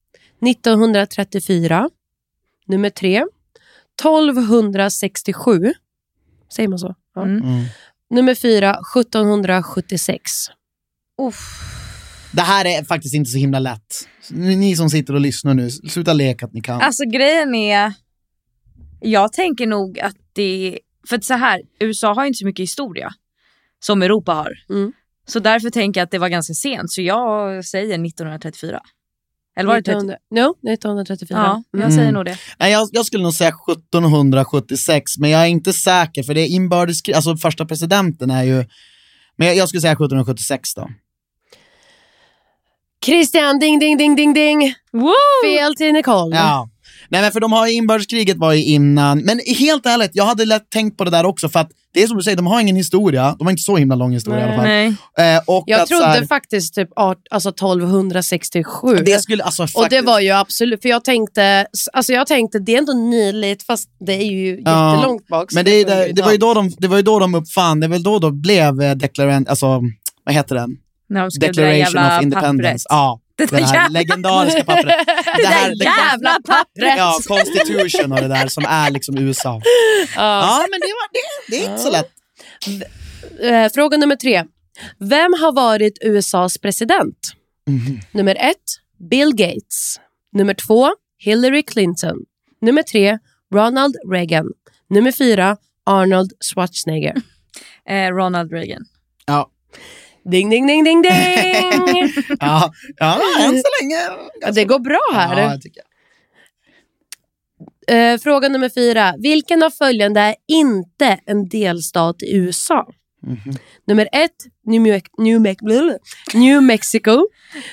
Speaker 3: 1934. Nummer tre, 1267. Säger man så? Ja.
Speaker 5: Mm.
Speaker 3: Nummer fyra, 1776.
Speaker 4: Det här är faktiskt inte så himla lätt. Ni, ni som sitter och lyssnar nu, sluta leka att ni kan.
Speaker 5: Alltså grejen är, jag tänker nog att det, för att så här, USA har ju inte så mycket historia som Europa har.
Speaker 3: Mm.
Speaker 5: Så därför tänker jag att det var ganska sent, så jag säger 1934. Eller var det 30?
Speaker 3: 1900 no, 1934.
Speaker 5: Ja, jag
Speaker 4: Mm.
Speaker 5: säger nog det.
Speaker 4: Nej, jag, jag skulle nog säga 1776, men jag är inte säker för det är inbördeskrig, alltså första presidenten är ju... Men jag, jag skulle säga 1776
Speaker 3: Mm.
Speaker 4: då.
Speaker 3: Christian, ding, ding, ding, ding, ding.
Speaker 5: Woo!
Speaker 3: Fel till Nicole.
Speaker 4: Ja. Nej men för de har ju inbördeskriget var ju innan, men helt ärligt, jag hade lätt tänkt på det där också för att det är som du säger, de har ingen historia, de har inte så himla lång historia i alla fall.
Speaker 5: Nej.
Speaker 4: Eh, och
Speaker 3: Jag
Speaker 4: att, så här,
Speaker 3: trodde faktiskt typ art, alltså 1267.
Speaker 4: det skulle, alltså, faktiskt,
Speaker 3: och det var ju absolut, för jag tänkte, alltså jag tänkte det är ändå nyligt fast det är ju
Speaker 4: Ja,
Speaker 3: jättelångt bak. så
Speaker 4: Men det, är där,
Speaker 3: ju
Speaker 4: det, var ju
Speaker 3: ta.
Speaker 4: då de, det var ju då de uppfann, det var väl då de blev eh, declarant, alltså vad heter den?
Speaker 5: När de skrev det där
Speaker 4: Declaration
Speaker 5: jävla
Speaker 4: of Independence.
Speaker 5: pappret.
Speaker 4: Ja,
Speaker 5: Det
Speaker 4: det
Speaker 5: där
Speaker 4: här
Speaker 5: jävla,
Speaker 4: legendariska pappret.
Speaker 5: det
Speaker 4: här-
Speaker 5: där jävla pappret!
Speaker 4: Ja, Constitution och det där som är liksom USA. Ja, men det, var, det, det är inte så lätt.
Speaker 3: Eh, fråga nummer tre. Vem har varit USAs president?
Speaker 4: Mhm.
Speaker 3: Nummer ett, Bill Gates. Nummer två, Hillary Clinton. Nummer tre, Ronald Reagan. Nummer fyra, Arnold Schwarzenegger.
Speaker 5: Eh, Ronald Reagan.
Speaker 4: Ja,
Speaker 3: Ding, ding, ding, ding, ding!
Speaker 4: ja, ja än så länge.
Speaker 3: Ja, det går bra här.
Speaker 4: Ja, jag tycker jag.
Speaker 3: Eh, fråga nummer fyra. Vilken av följande är inte en delstat i USA?
Speaker 4: Mhm.
Speaker 3: Nummer ett, New, Mex- New, Mex- blul, New Mexico.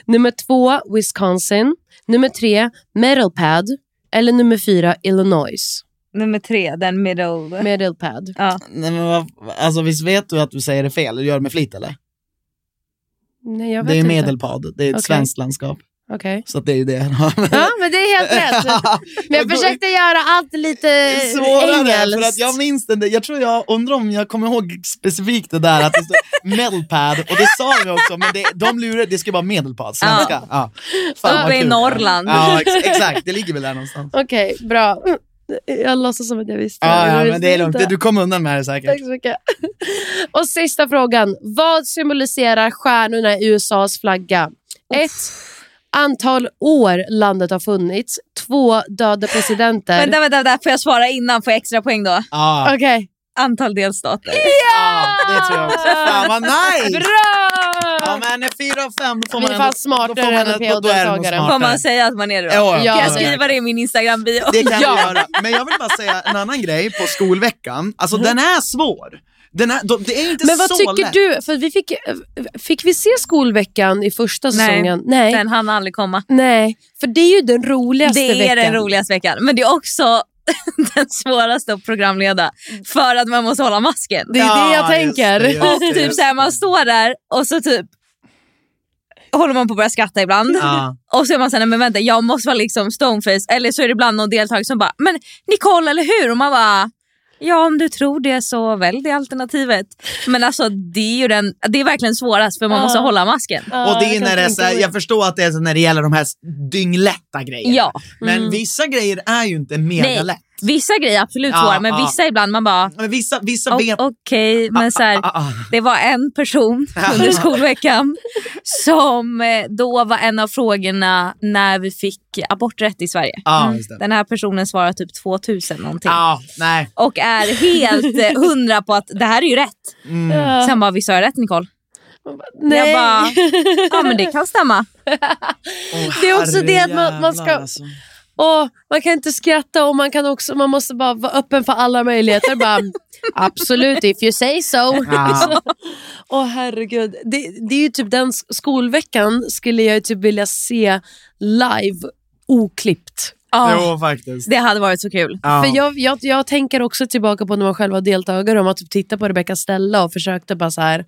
Speaker 3: nummer två, Wisconsin. Nummer tre, Medelpad. Eller nummer fyra, Illinois.
Speaker 5: Nummer tre, den middle.
Speaker 3: Medelpad.
Speaker 5: ja.
Speaker 4: Nej, men vad, alltså, visst vet du att du säger det fel? Du gör det med flit eller?
Speaker 3: Nej, jag vet
Speaker 4: Det är
Speaker 3: inte.
Speaker 4: medelpad, det är ett
Speaker 3: Okej.
Speaker 4: svenskt landskap.
Speaker 3: Okej.
Speaker 4: Så att det är ju det.
Speaker 3: Ja, men det är helt rätt. Men jag försökte göra allt lite
Speaker 4: svårare. För att
Speaker 3: engelskt.
Speaker 4: jag minns den där, jag tror jag undrar om jag kommer ihåg specifikt det där att det stod medelpad och det sa vi också men det, de lurade, det ska vara medelpad, svenska. Ja. Fan, vad
Speaker 5: Uppe i
Speaker 4: kul.
Speaker 5: Norrland.
Speaker 4: Ja ex exakt, det ligger väl där någonstans.
Speaker 3: Okej, bra. Jag låtsas som att jag visste.
Speaker 4: Ja, ja
Speaker 3: Jag
Speaker 4: men det är
Speaker 3: visste
Speaker 4: lugnt,
Speaker 3: inte.
Speaker 4: du kommer undan med det säkert.
Speaker 3: Tack så mycket. Och sista frågan. Vad symboliserar stjärnorna i USAs flagga? Ett, Antal år landet har funnits. Två, Döda presidenter.
Speaker 5: Vänta, vänta, vänta, får jag svara innan? Får jag extra poäng då?
Speaker 4: Ja,
Speaker 3: Okej.
Speaker 5: Antal delstater.
Speaker 4: ja, det tror jag också. Fan vad nice!
Speaker 3: Bra!
Speaker 4: Ja men en fyra av fem, då får
Speaker 3: Vi
Speaker 4: man
Speaker 3: är
Speaker 4: ändå-
Speaker 3: fan smartare
Speaker 4: då får man
Speaker 3: än
Speaker 4: ändå- då- då är det nog
Speaker 3: PH-deltagare.
Speaker 4: smartare.
Speaker 5: Får man säga att man är det då?
Speaker 4: Ja,
Speaker 3: Ja.
Speaker 5: Kan
Speaker 3: ja,
Speaker 5: jag
Speaker 3: ja.
Speaker 5: skriva det i min Instagram-bio?
Speaker 4: Det kan du göra. Men jag vill bara säga en annan grej på skolveckan. Alltså den är svår. Den är, de- det är inte
Speaker 3: Mm. Men vad
Speaker 4: så
Speaker 3: tycker
Speaker 4: lätt.
Speaker 3: du? För vi fick, fick vi se skolveckan i första
Speaker 5: Nej.
Speaker 3: säsongen? Nej.
Speaker 5: Den hann aldrig komma.
Speaker 3: Nej. För det är ju den roligaste
Speaker 5: Det är
Speaker 3: veckan.
Speaker 5: den roligaste veckan. Men det är också den svåraste att programleda. För att man måste hålla masken.
Speaker 3: Det är det jag
Speaker 4: Ja, just
Speaker 3: tänker.
Speaker 4: det, ja.
Speaker 5: Och typ såhär, man står där och så typ håller man på att börja skratta ibland.
Speaker 4: Ja.
Speaker 5: Och så är man såhär, nej men vänta jag måste vara liksom stoneface. Eller så är det ibland någon deltagare som bara, men Nicole eller hur? Och man bara, ja om du tror det så välj det alternativet. Men alltså det är ju den, det är verkligen svårast för man måste
Speaker 3: Ja.
Speaker 5: hålla masken.
Speaker 3: Ja,
Speaker 4: Och det är
Speaker 3: jag
Speaker 4: när
Speaker 3: kan
Speaker 4: det är
Speaker 3: tänka
Speaker 4: så här,
Speaker 3: mig.
Speaker 4: jag förstår att det är så när det gäller de här dynglätta grejerna.
Speaker 5: Ja.
Speaker 3: mm.
Speaker 4: Men vissa grejer är ju inte mega
Speaker 5: Nej.
Speaker 4: lätt.
Speaker 5: Vissa grejer absolut
Speaker 4: Ja,
Speaker 5: svåra, men
Speaker 4: ja.
Speaker 5: vissa ibland man bara
Speaker 4: Men vissa, vissa
Speaker 5: "O-
Speaker 4: vet...
Speaker 5: okej, men så här,
Speaker 4: Ah, ah.
Speaker 5: det var en person under skolveckan som eh, då var en av frågorna när vi fick aborträtt i Sverige.
Speaker 4: Ja,
Speaker 3: Mm.
Speaker 4: just det.
Speaker 5: Den här personen svarar typ 2000 någonting.
Speaker 4: Ja, nej.
Speaker 5: och är helt eh, hundra på att det här är ju rätt. Sen bara, visst har jag rätt Nicole?
Speaker 3: Nej.
Speaker 5: Jag bara, ja men det kan stämma.
Speaker 3: Det är också det att man- man ska-
Speaker 4: Herrejävlar, alltså.
Speaker 3: Åh, man kan inte skratta och man, kan också, man måste bara vara öppen för alla möjligheter. Bara, Absolut, if you say so.
Speaker 4: Ja.
Speaker 3: Åh herregud. Det, det är ju typ den sk- skolveckan skulle jag ju typ vilja se live oklippt.
Speaker 5: Ja,
Speaker 4: Jo, faktiskt.
Speaker 5: det hade varit så kul.
Speaker 4: Ja.
Speaker 3: För jag, jag, jag tänker också tillbaka på när man själv var deltagare om att typ titta på Rebecca Stella och försökte bara så här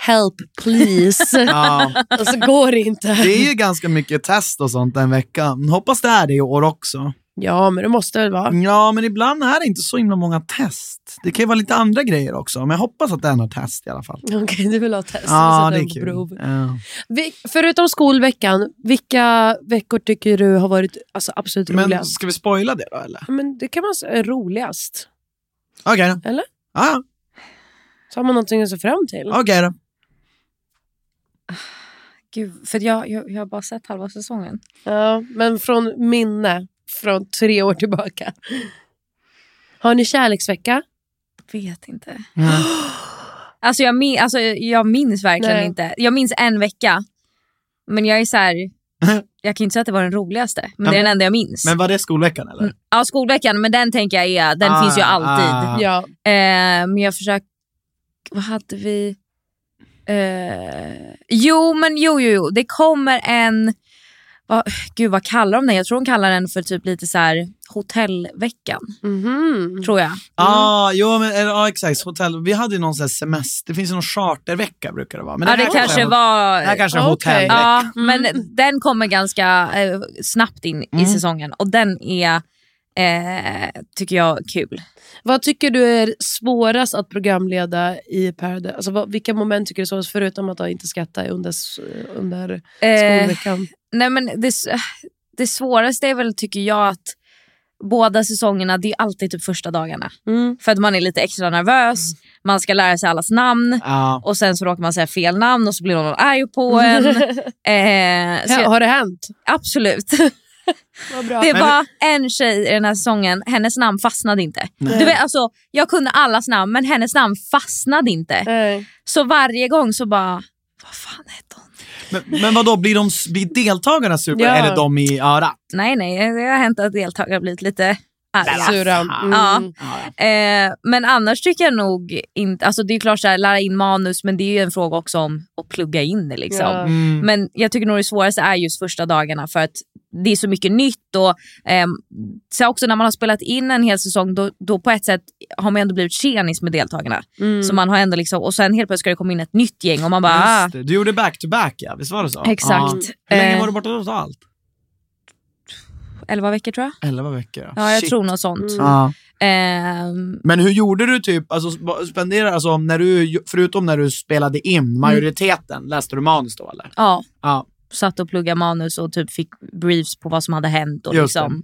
Speaker 3: help please.
Speaker 4: Ja.
Speaker 3: och så går det inte.
Speaker 4: Det är ju ganska mycket test och sånt den veckan. Hoppas det är det i år också.
Speaker 3: Ja men det måste väl vara.
Speaker 4: Ja, men ibland är det inte så himla många test. Det kan ju vara lite andra grejer också, men jag hoppas att den har test i alla fall.
Speaker 3: Okej du vill ha test.
Speaker 4: Mm. Ja,
Speaker 3: och
Speaker 4: det
Speaker 3: sätta
Speaker 4: är
Speaker 3: dem på prov.
Speaker 4: kul. Ja.
Speaker 3: Vi, förutom skolveckan, vilka veckor tycker du har varit alltså, absolut
Speaker 4: Men
Speaker 3: roligast?
Speaker 4: ska vi spoila det då, eller?
Speaker 3: Men, det kan man säga är roligast.
Speaker 4: Okej då.
Speaker 3: Eller?
Speaker 4: Ja,
Speaker 3: Så har man någonting att se fram till.
Speaker 4: okej då.
Speaker 5: Gud, för jag, jag, jag har bara sett halva säsongen.
Speaker 3: Ja, men från minne, från tre år tillbaka. Har ni kärleksvecka?
Speaker 5: Vet inte.
Speaker 4: Ja.
Speaker 5: Alltså jag, min, alltså jag minns verkligen
Speaker 3: Nej.
Speaker 5: inte. Jag minns en vecka. Men jag är så här, jag kan ju inte säga att det var den roligaste. Men det är den enda jag minns.
Speaker 4: Men var det skolveckan, eller?
Speaker 5: Ja, skolveckan, men den tänker jag är, den
Speaker 4: Ah,
Speaker 5: finns ju alltid.
Speaker 4: ah. Ja.
Speaker 3: Ja.
Speaker 5: Eh, men jag försöker... Vad hade vi? Eh, jo, men jo, jo, jo. Det kommer en... Vad, gud, vad kallar de den? Jag tror de kallar den för typ lite så här hotellveckan.
Speaker 4: Mm.
Speaker 3: Mhm.
Speaker 5: Tror jag.
Speaker 4: Ah, jo, men, eller, ja, exakt. Hotell. Vi hade ju någon sån här semester, det finns ju någon chartervecka brukar det vara. Men
Speaker 5: ja, det
Speaker 4: här
Speaker 5: kanske
Speaker 4: är-
Speaker 5: var... Ah,
Speaker 4: Det här kanske är en Mm.
Speaker 3: Okej.
Speaker 4: hotellvecka.
Speaker 5: ja, men den kommer ganska eh, snabbt in
Speaker 4: Mm.
Speaker 5: i säsongen och den är, eh, tycker jag, kul.
Speaker 3: Vad tycker du är svårast att programleda i Paradise? Alltså, vad, vilka moment tycker du är svårast, förutom att inte skratta under, s- under
Speaker 5: Eh,
Speaker 3: skolveckan?
Speaker 5: Nej men det, s- det svåraste är väl tycker jag att båda säsongerna, det är alltid typ första dagarna.
Speaker 3: Mm.
Speaker 5: För att man är lite extra nervös, man ska lära sig allas namn
Speaker 4: Ja.
Speaker 5: och sen så råkar man säga fel namn och så blir någon arg på en. eh, så jag,
Speaker 3: Har det hänt?
Speaker 5: absolut.
Speaker 3: Vad bra.
Speaker 5: Det
Speaker 4: Men-
Speaker 5: var en tjej i den här säsongen, hennes namn fastnade inte. Du vet, alltså, jag kunde allas namn men hennes namn fastnade inte.
Speaker 3: Nej.
Speaker 5: Så varje gång så bara, vad fan hette hon?
Speaker 4: Men, men vadå, blir, de, blir deltagarna super
Speaker 3: Ja.
Speaker 4: eller de i örat?
Speaker 5: Nej nej, eh, det har hänt att deltagare har blivit lite arga.
Speaker 3: Sura. Mm.
Speaker 5: Ja. Eh, men annars tycker jag nog inte, alltså det är klart så här, lära in manus men det är ju en fråga också om att plugga in det liksom.
Speaker 3: Ja.
Speaker 4: Mm.
Speaker 5: Men jag tycker nog det svåraste är just första dagarna för att det är så mycket nytt och ehm, så också när man har spelat in en hel säsong då, då på ett sätt har man ändå blivit tjenis med deltagarna.
Speaker 3: Mm.
Speaker 5: Så man har ändå liksom, och sen helt plötsligt ska det komma in ett nytt gäng och man bara ah,
Speaker 4: Mm. Just det. Du gjorde back-to-back, ja. Visst var det så?
Speaker 5: exakt.
Speaker 4: Ja. Hur länge
Speaker 5: Eh,
Speaker 4: var du borta totalt?
Speaker 5: 11 veckor tror jag.
Speaker 4: Elva veckor.
Speaker 5: Ja, jag
Speaker 4: Shit. Mm.
Speaker 5: tror något sånt.
Speaker 4: Ja.
Speaker 5: Ehm,
Speaker 4: Men hur gjorde du typ, alltså, sp- spendera, alltså, när du, förutom när du spelade in majoriteten, läste du manus då eller?
Speaker 5: ja.
Speaker 4: Ja.
Speaker 5: satt och pluggade manus och typ fick briefs på vad som hade hänt. Och
Speaker 4: Just det.
Speaker 5: liksom.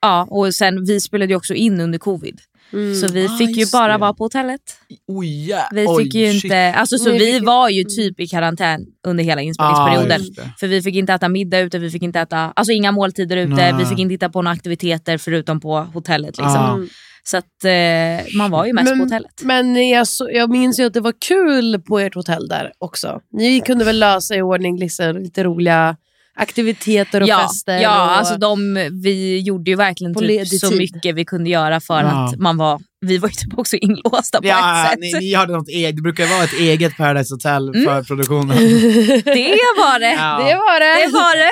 Speaker 5: ja, och sen, vi spelade ju också in under covid.
Speaker 3: Mm.
Speaker 5: Så vi
Speaker 4: Ah,
Speaker 5: fick ju
Speaker 4: just
Speaker 5: bara
Speaker 4: det.
Speaker 5: vara på hotellet.
Speaker 4: Oh, yeah.
Speaker 5: Vi
Speaker 4: Oj,
Speaker 5: fick ju
Speaker 4: shit.
Speaker 5: inte, alltså, så
Speaker 3: Ni
Speaker 5: vi
Speaker 3: fick- Mm.
Speaker 5: var ju typ i karantän under hela
Speaker 4: Ah,
Speaker 5: inspelningsperioden.
Speaker 4: just det.
Speaker 5: för vi fick inte äta middag ute, vi fick inte äta, alltså inga måltider ute,
Speaker 4: Nej.
Speaker 5: vi fick inte titta på några aktiviteter förutom på hotellet. Liksom.
Speaker 4: Ah.
Speaker 5: Så att eh, man var ju mest på hotellet.
Speaker 3: Men jag, så, jag minns ju att det var kul på ert hotell där också. Ni kunde väl lösa i ordning liksom, lite roliga aktiviteter och
Speaker 5: ja,
Speaker 3: fester.
Speaker 5: ja
Speaker 3: och,
Speaker 5: alltså de, vi gjorde ju verkligen
Speaker 3: På
Speaker 5: typ
Speaker 3: ledig
Speaker 5: så
Speaker 3: tid.
Speaker 5: mycket vi kunde göra för
Speaker 4: Ja.
Speaker 5: att man var, vi var ju typ också inlåsta på
Speaker 4: Ja,
Speaker 5: ett
Speaker 4: ni,
Speaker 5: sätt. Mm.
Speaker 4: ni hade något eget, det brukar ju vara ett eget Paradise Hotel för produktionen.
Speaker 5: Det var det.
Speaker 4: Ja.
Speaker 3: Det var det.
Speaker 5: Det var det.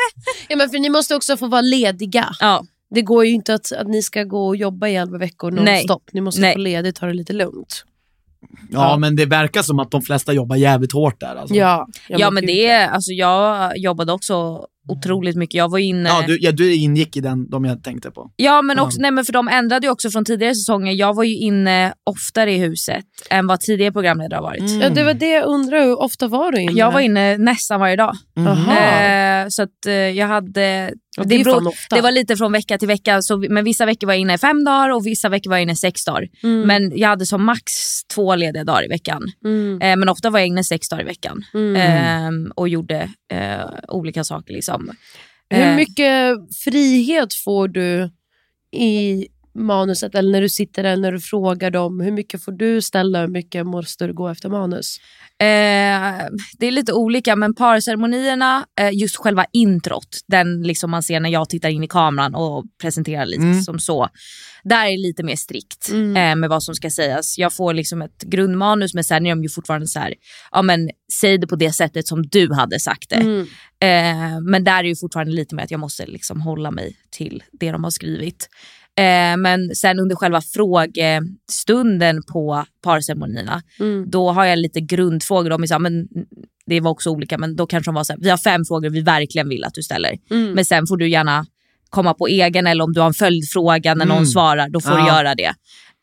Speaker 3: Ja, men för ni måste också få vara lediga.
Speaker 5: Ja,
Speaker 3: Det går ju inte att, att ni ska gå och jobba i elva veckor
Speaker 5: Nej.
Speaker 3: nonstop. Ni måste
Speaker 5: Nej.
Speaker 3: få ledigt ta det lite lugnt.
Speaker 4: Ja, men det verkar som att de flesta jobbar jävligt hårt där. Alltså.
Speaker 3: Ja,
Speaker 5: ja men det, alltså jag jobbade också otroligt mycket. Jag var inne...
Speaker 4: Ja, du, ja, du ingick i den, de jag tänkte på.
Speaker 5: Ja, men också,
Speaker 4: Ja.
Speaker 5: nej, men för de ändrade ju också från tidigare säsonger. Jag var ju inne oftare i huset än vad tidigare programledare har varit.
Speaker 4: Mm.
Speaker 3: Ja, det var det jag undrar. Hur ofta var du inne?
Speaker 5: Jag var inne nästan varje dag.
Speaker 3: Jaha.
Speaker 5: Eh, så att eh, jag hade...
Speaker 3: Ja, det är
Speaker 5: beror-
Speaker 3: fan ofta.
Speaker 5: det var lite från vecka till vecka, så, vi- men vissa veckor var jag inne fem dagar och vissa veckor var jag inne sex dagar.
Speaker 3: Mm.
Speaker 5: Men jag hade som max två lediga dagar i veckan.
Speaker 3: Mm.
Speaker 5: Eh, men ofta var jag inne sex dagar i veckan
Speaker 3: Mm.
Speaker 5: eh, och gjorde eh, olika saker. Liksom.
Speaker 3: Hur
Speaker 5: Eh,
Speaker 3: mycket frihet får du i manuset eller när du sitter där, när du frågar dem? Hur mycket får du ställa? Hur mycket måste du gå efter manus?
Speaker 5: Eh, det är lite olika, men parceremonierna, eh, just själva introt, den liksom man ser när jag tittar in i kameran och presenterar lite
Speaker 4: Mm.
Speaker 5: som så. Där är det lite mer strikt
Speaker 3: Mm.
Speaker 5: eh, med vad som ska sägas. Jag får liksom ett grundmanus, men sen är de ju fortfarande så här, ja men säg det på det sättet som du hade sagt det.
Speaker 3: Mm,
Speaker 5: Eh, men där är ju fortfarande lite mer att jag måste liksom hålla mig till det de har skrivit. Eh, men sen under själva frågestunden på parceremonierna,
Speaker 3: Mm.
Speaker 5: då har jag lite grundfrågor. De är så här, men, det var också olika, men då kanske de var så här, vi har fem frågor vi verkligen vill att du ställer.
Speaker 3: Mm.
Speaker 5: Men sen får du gärna komma på egen eller om du har en följdfråga när någon
Speaker 4: Mm.
Speaker 5: svarar, då får du
Speaker 4: Ja.
Speaker 5: göra det.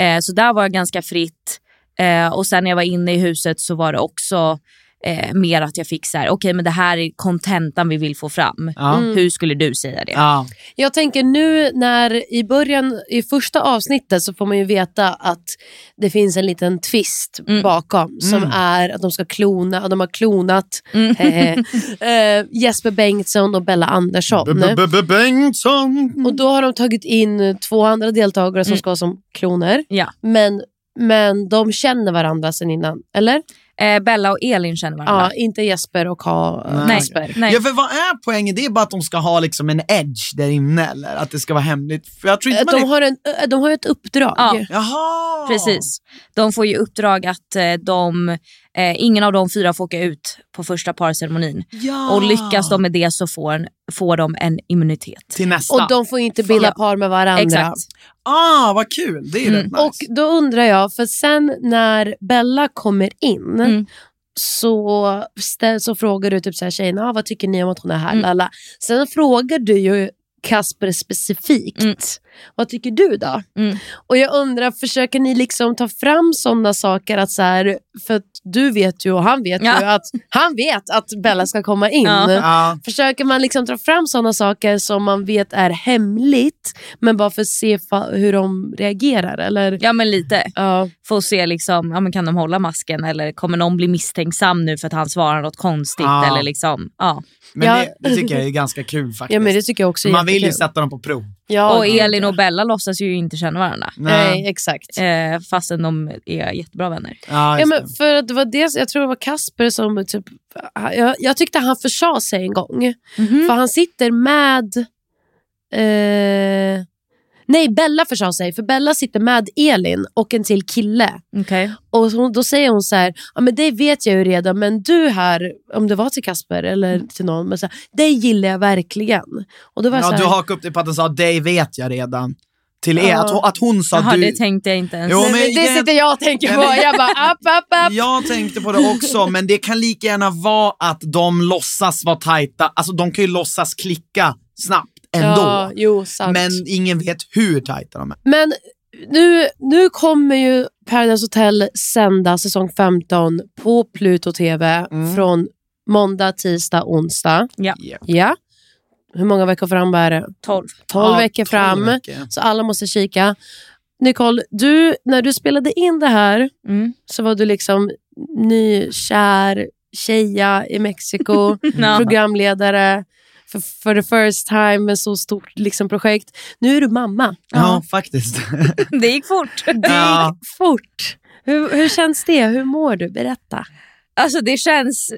Speaker 5: Eh, så där var jag ganska fritt. Eh, och sen när jag var inne i huset så var det också eh, mer att jag fick så här, okej men det här är kontentan vi vill få fram.
Speaker 4: Ja. Mm.
Speaker 5: Hur skulle du säga det?
Speaker 4: Ja.
Speaker 3: Jag tänker nu när i början, i första avsnittet så får man ju veta att det finns en liten twist
Speaker 5: Mm.
Speaker 3: bakom som
Speaker 4: Mm.
Speaker 3: är att de ska klona, och de har klonat
Speaker 5: Mm.
Speaker 3: eh, eh, Jesper Bengtsson och Bella Andersson.
Speaker 4: Bengtsson!
Speaker 5: Mm.
Speaker 3: Och då har de tagit in eh, två andra deltagare som ska vara som kloner.
Speaker 5: Ja.
Speaker 3: Men, men de känner varandra sen innan, eller?
Speaker 5: Eh, Bella och Elin känner varandra.
Speaker 3: Ja, inte Jesper och ha eh,
Speaker 5: Nej.
Speaker 3: Jesper.
Speaker 5: Nej.
Speaker 4: Ja, för vad är poängen? Det är bara att de ska ha liksom en edge där inne eller att det ska vara hemligt. För jag tror inte
Speaker 3: Eh,
Speaker 4: man
Speaker 3: De
Speaker 4: är...
Speaker 3: har, en, eh, de har ju ett uppdrag.
Speaker 5: Ja.
Speaker 4: Jaha!
Speaker 5: Precis. De får ju uppdrag att eh, de, eh, ingen av de fyra får åka ut på första parceremonin.
Speaker 4: Ja.
Speaker 5: Och lyckas de med det så får, en, får de en immunitet.
Speaker 4: Till nästa.
Speaker 3: Och de får inte bilda
Speaker 5: Ja.
Speaker 3: par med varandra.
Speaker 5: Exakt.
Speaker 4: Ah, vad kul! Det är
Speaker 5: Mm.
Speaker 4: rätt nice.
Speaker 3: Och då undrar jag, för sen när Bella kommer in
Speaker 5: Mm.
Speaker 3: så, ställ, så frågar du typ så här, tjejerna, ah, vad tycker ni om att hon är här?
Speaker 5: Mm.
Speaker 3: Lala. Sen frågar du ju Kasper specifikt,
Speaker 5: Mm.
Speaker 3: vad tycker du då?
Speaker 5: Mm.
Speaker 3: Och jag undrar, försöker ni liksom ta fram sådana saker att så här, för att du vet ju och han vet ju
Speaker 5: Ja.
Speaker 3: att han vet att Bella ska komma in.
Speaker 5: Ja.
Speaker 4: Ja.
Speaker 3: Försöker man liksom dra fram sådana saker som man vet är hemligt, men bara för att se fa- hur de reagerar? Eller?
Speaker 5: Ja men lite.
Speaker 3: Ja.
Speaker 5: Får se liksom, ja, men kan de hålla masken eller kommer någon bli misstänksam nu för att han svarar något konstigt?
Speaker 4: Ja.
Speaker 5: Eller liksom, ja.
Speaker 4: Men
Speaker 3: Ja.
Speaker 4: Det, det tycker jag är ganska kul faktiskt.
Speaker 3: ja, men det tycker jag också är
Speaker 4: man vill ju
Speaker 3: jättekul.
Speaker 4: sätta dem på prov.
Speaker 3: ja,
Speaker 5: och
Speaker 3: gud,
Speaker 5: Elin
Speaker 3: ja.
Speaker 5: och Bella låtsas ju inte känna varandra.
Speaker 3: Nej, exakt.
Speaker 5: Eh, fastän de är jättebra vänner.
Speaker 4: Ja,
Speaker 3: Ja,
Speaker 4: just
Speaker 3: men för att det var det, jag tror det var Kasper som... Typ, jag, jag tyckte han försade sig en gång.
Speaker 4: Mm.
Speaker 5: Mhm,
Speaker 3: För han sitter med... Eh, nej, Bella försade sig. För Bella sitter med Elin och en till kille.
Speaker 5: Okej.
Speaker 3: Och hon, då säger hon så här, ja, men det vet jag ju redan, men du här, om det var till Kasper eller
Speaker 4: Mm.
Speaker 3: till någon, men så här, det gillar jag verkligen. Och då var
Speaker 4: det.
Speaker 3: jag
Speaker 4: ja,
Speaker 3: så här,
Speaker 4: du hakade upp dig på att den sa dig vet jag redan. Till er.
Speaker 3: Ja.
Speaker 4: Att, hon- att hon sa
Speaker 5: Jaha,
Speaker 4: du...
Speaker 5: det tänkte jag inte ens.
Speaker 4: Jo,
Speaker 3: "Nej, men det
Speaker 4: jag-
Speaker 3: sitter jag och tänker
Speaker 4: Ja,
Speaker 3: på.
Speaker 4: men-
Speaker 3: Jag bara, app, app, app.
Speaker 4: Jag tänkte på det också, men det kan lika gärna vara att de låtsas vara tajta. Alltså de kan ju låtsas klicka snabbt
Speaker 3: Ja,
Speaker 4: ändå.
Speaker 3: jo, sant.
Speaker 4: men ingen vet hur tajta de är.
Speaker 3: Men nu, nu kommer ju Paradise Hotel sända säsong 15 på Pluto TV
Speaker 4: Mm.
Speaker 3: från måndag, tisdag, onsdag.
Speaker 4: Ja.
Speaker 3: Ja. Hur många veckor fram är det?
Speaker 5: 12.
Speaker 3: 12
Speaker 4: Ja,
Speaker 3: veckor
Speaker 4: tolv
Speaker 3: fram.
Speaker 4: veckor.
Speaker 3: Så alla måste kika. Nicole, du, när du spelade in det här
Speaker 5: Mm.
Speaker 3: så var du liksom nykär tjeja i Mexiko,
Speaker 5: Ja.
Speaker 3: programledare för, för the first time med så stort liksom, projekt. Nu är du mamma.
Speaker 4: Ja, faktiskt.
Speaker 5: Det gick fort.
Speaker 4: ja.
Speaker 3: Fort! Hur, hur känns det? Hur mår du? Berätta.
Speaker 5: Alltså det känns...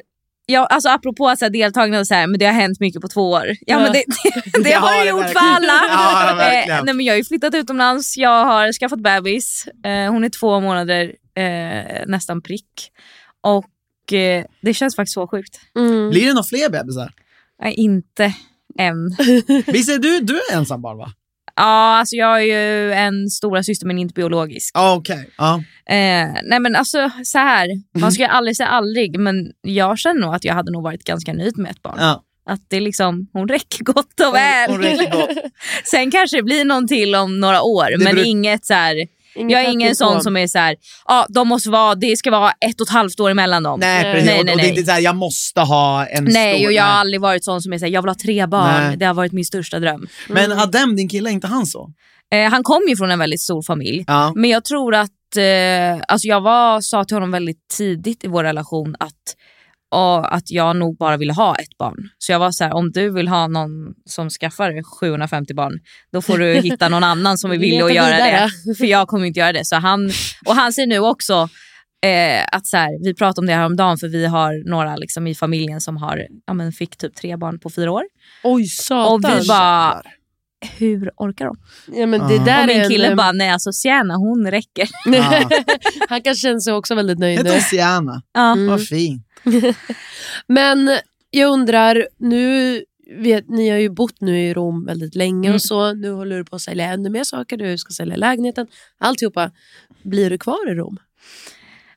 Speaker 5: Ja, alltså apropå att så här, deltagarna och så här, men det har hänt mycket på två år. Ja,
Speaker 3: Ja.
Speaker 5: men det, det,
Speaker 4: Det
Speaker 5: har
Speaker 4: har
Speaker 5: det
Speaker 4: det
Speaker 5: gjort för
Speaker 4: verkligen.
Speaker 5: alla.
Speaker 4: Ja, verkligen.
Speaker 5: eh, nej, men jag har ju flyttat utomlands, jag har skaffat bebis. Eh, hon är två månader eh, nästan prick. Och eh, det känns faktiskt så sjukt.
Speaker 3: Mm.
Speaker 4: Blir det några fler bebisar?
Speaker 5: Nej, inte än.
Speaker 4: Visst är du, du är ensam barn va?
Speaker 5: Ja, alltså jag är ju en stora syster men inte biologisk.
Speaker 4: Ja, okej. Ja.
Speaker 5: Eh, nej men alltså så här, man ska ju aldrig säga aldrig men jag känner nog att jag hade nog varit ganska nöjd med ett barn.
Speaker 4: Ja.
Speaker 5: Att det liksom, hon räcker gott och väl.
Speaker 4: hon räcker gott.
Speaker 5: Sen kanske det blir någon till om några år, men
Speaker 4: beror-
Speaker 5: inget så här...
Speaker 3: Inget
Speaker 5: jag är ingen
Speaker 4: typ
Speaker 3: att gå
Speaker 5: sån
Speaker 3: på.
Speaker 5: som är så här, ja de måste vara, det ska vara ett och ett halvt år emellan dem.
Speaker 4: Nej, precis.
Speaker 5: nej,
Speaker 4: och,
Speaker 5: nej,
Speaker 4: och det är
Speaker 5: nej.
Speaker 4: inte så här, jag måste ha en
Speaker 5: Nej,
Speaker 4: stor...
Speaker 5: och jag har aldrig varit sån som är såhär, jag vill ha tre barn.
Speaker 4: Nej.
Speaker 5: Det har varit min största dröm.
Speaker 4: Men Adem, din kille, är inte han så?
Speaker 5: Eh, han kom ju från en väldigt stor familj.
Speaker 4: Ja.
Speaker 5: Men jag tror att, eh, alltså jag var, sa till honom väldigt tidigt i vår relation att, ja, att jag nog bara ville ha ett barn. Så jag var så här, om du vill ha någon som skaffar 750 barn, då får du hitta någon annan som är villig att
Speaker 3: Leta
Speaker 5: göra
Speaker 3: vidare.
Speaker 5: det. För jag kommer inte göra det. Så han, och han säger nu också, Eh, att så här, vi pratade om det här om dagen för vi har några liksom, i familjen som har, ja, men fick typ tre barn på fyra år.
Speaker 3: Oj,
Speaker 5: Och
Speaker 3: satan.
Speaker 5: vi bara, hur orkar de?
Speaker 3: ja, men det där
Speaker 5: och
Speaker 3: är
Speaker 5: min
Speaker 3: en- eh,
Speaker 5: kille bara, nej alltså Sienna hon räcker.
Speaker 4: Ja.
Speaker 3: Han kan känna sig också väldigt nöjd
Speaker 4: Hette
Speaker 3: nu. Mm.
Speaker 4: hon Sienna?
Speaker 5: Ja.
Speaker 4: Vad fint.
Speaker 3: Men jag undrar, nu vet, ni har ju bott nu i Rom väldigt länge
Speaker 5: Mm.
Speaker 3: och så. Nu håller du på att sälja ännu mer saker. Du ska sälja lägenheten, alltihopa. Blir du kvar i Rom?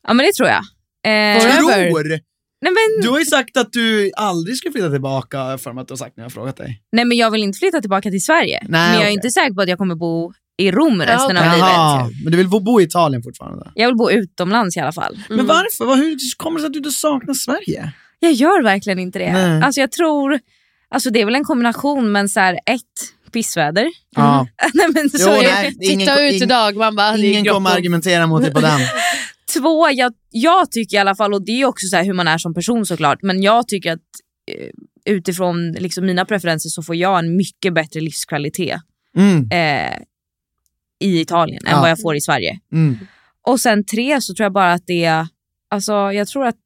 Speaker 5: ja men det tror jag. Eh,
Speaker 3: Forever.
Speaker 4: Tror!
Speaker 5: nej, men,
Speaker 4: Du har ju sagt att du aldrig skulle flytta tillbaka, har jag för mig att du har sagt när jag har frågat dig.
Speaker 5: nej men jag vill inte flytta tillbaka till Sverige. men jag är
Speaker 4: okej.
Speaker 5: inte säker på att jag kommer bo i Rom resten
Speaker 3: okej.
Speaker 5: av livet.
Speaker 4: Jaha, men du vill bo- bo i Italien fortfarande?
Speaker 5: Jag vill bo utomlands i alla
Speaker 3: Mm.
Speaker 5: fall.
Speaker 4: Men varför? Vad- Hur kommer det sig att du inte saknar Sverige?
Speaker 5: Jag gör verkligen inte det.
Speaker 4: Nej.
Speaker 5: Alltså jag tror, alltså det är väl en kombination men så här, ett, pissväder.
Speaker 4: Ja.
Speaker 5: nej, men så
Speaker 4: Jo,
Speaker 5: är det.
Speaker 4: nej, ingen-
Speaker 3: Titta ut
Speaker 4: ingen-
Speaker 3: idag, man bara... det är
Speaker 4: Ingen kommer
Speaker 3: grottor.
Speaker 4: argumentera mot dig på den.
Speaker 5: Två, jag, jag tycker i alla fall, och det är också så här hur man är som person såklart, men jag tycker att eh, utifrån liksom mina preferenser så får jag en mycket bättre livskvalitet
Speaker 4: Mm,
Speaker 5: eh, i Italien än
Speaker 4: Ja.
Speaker 5: vad jag får i Sverige.
Speaker 4: mm.
Speaker 5: Och sen tre så tror jag bara att det är, alltså jag tror att,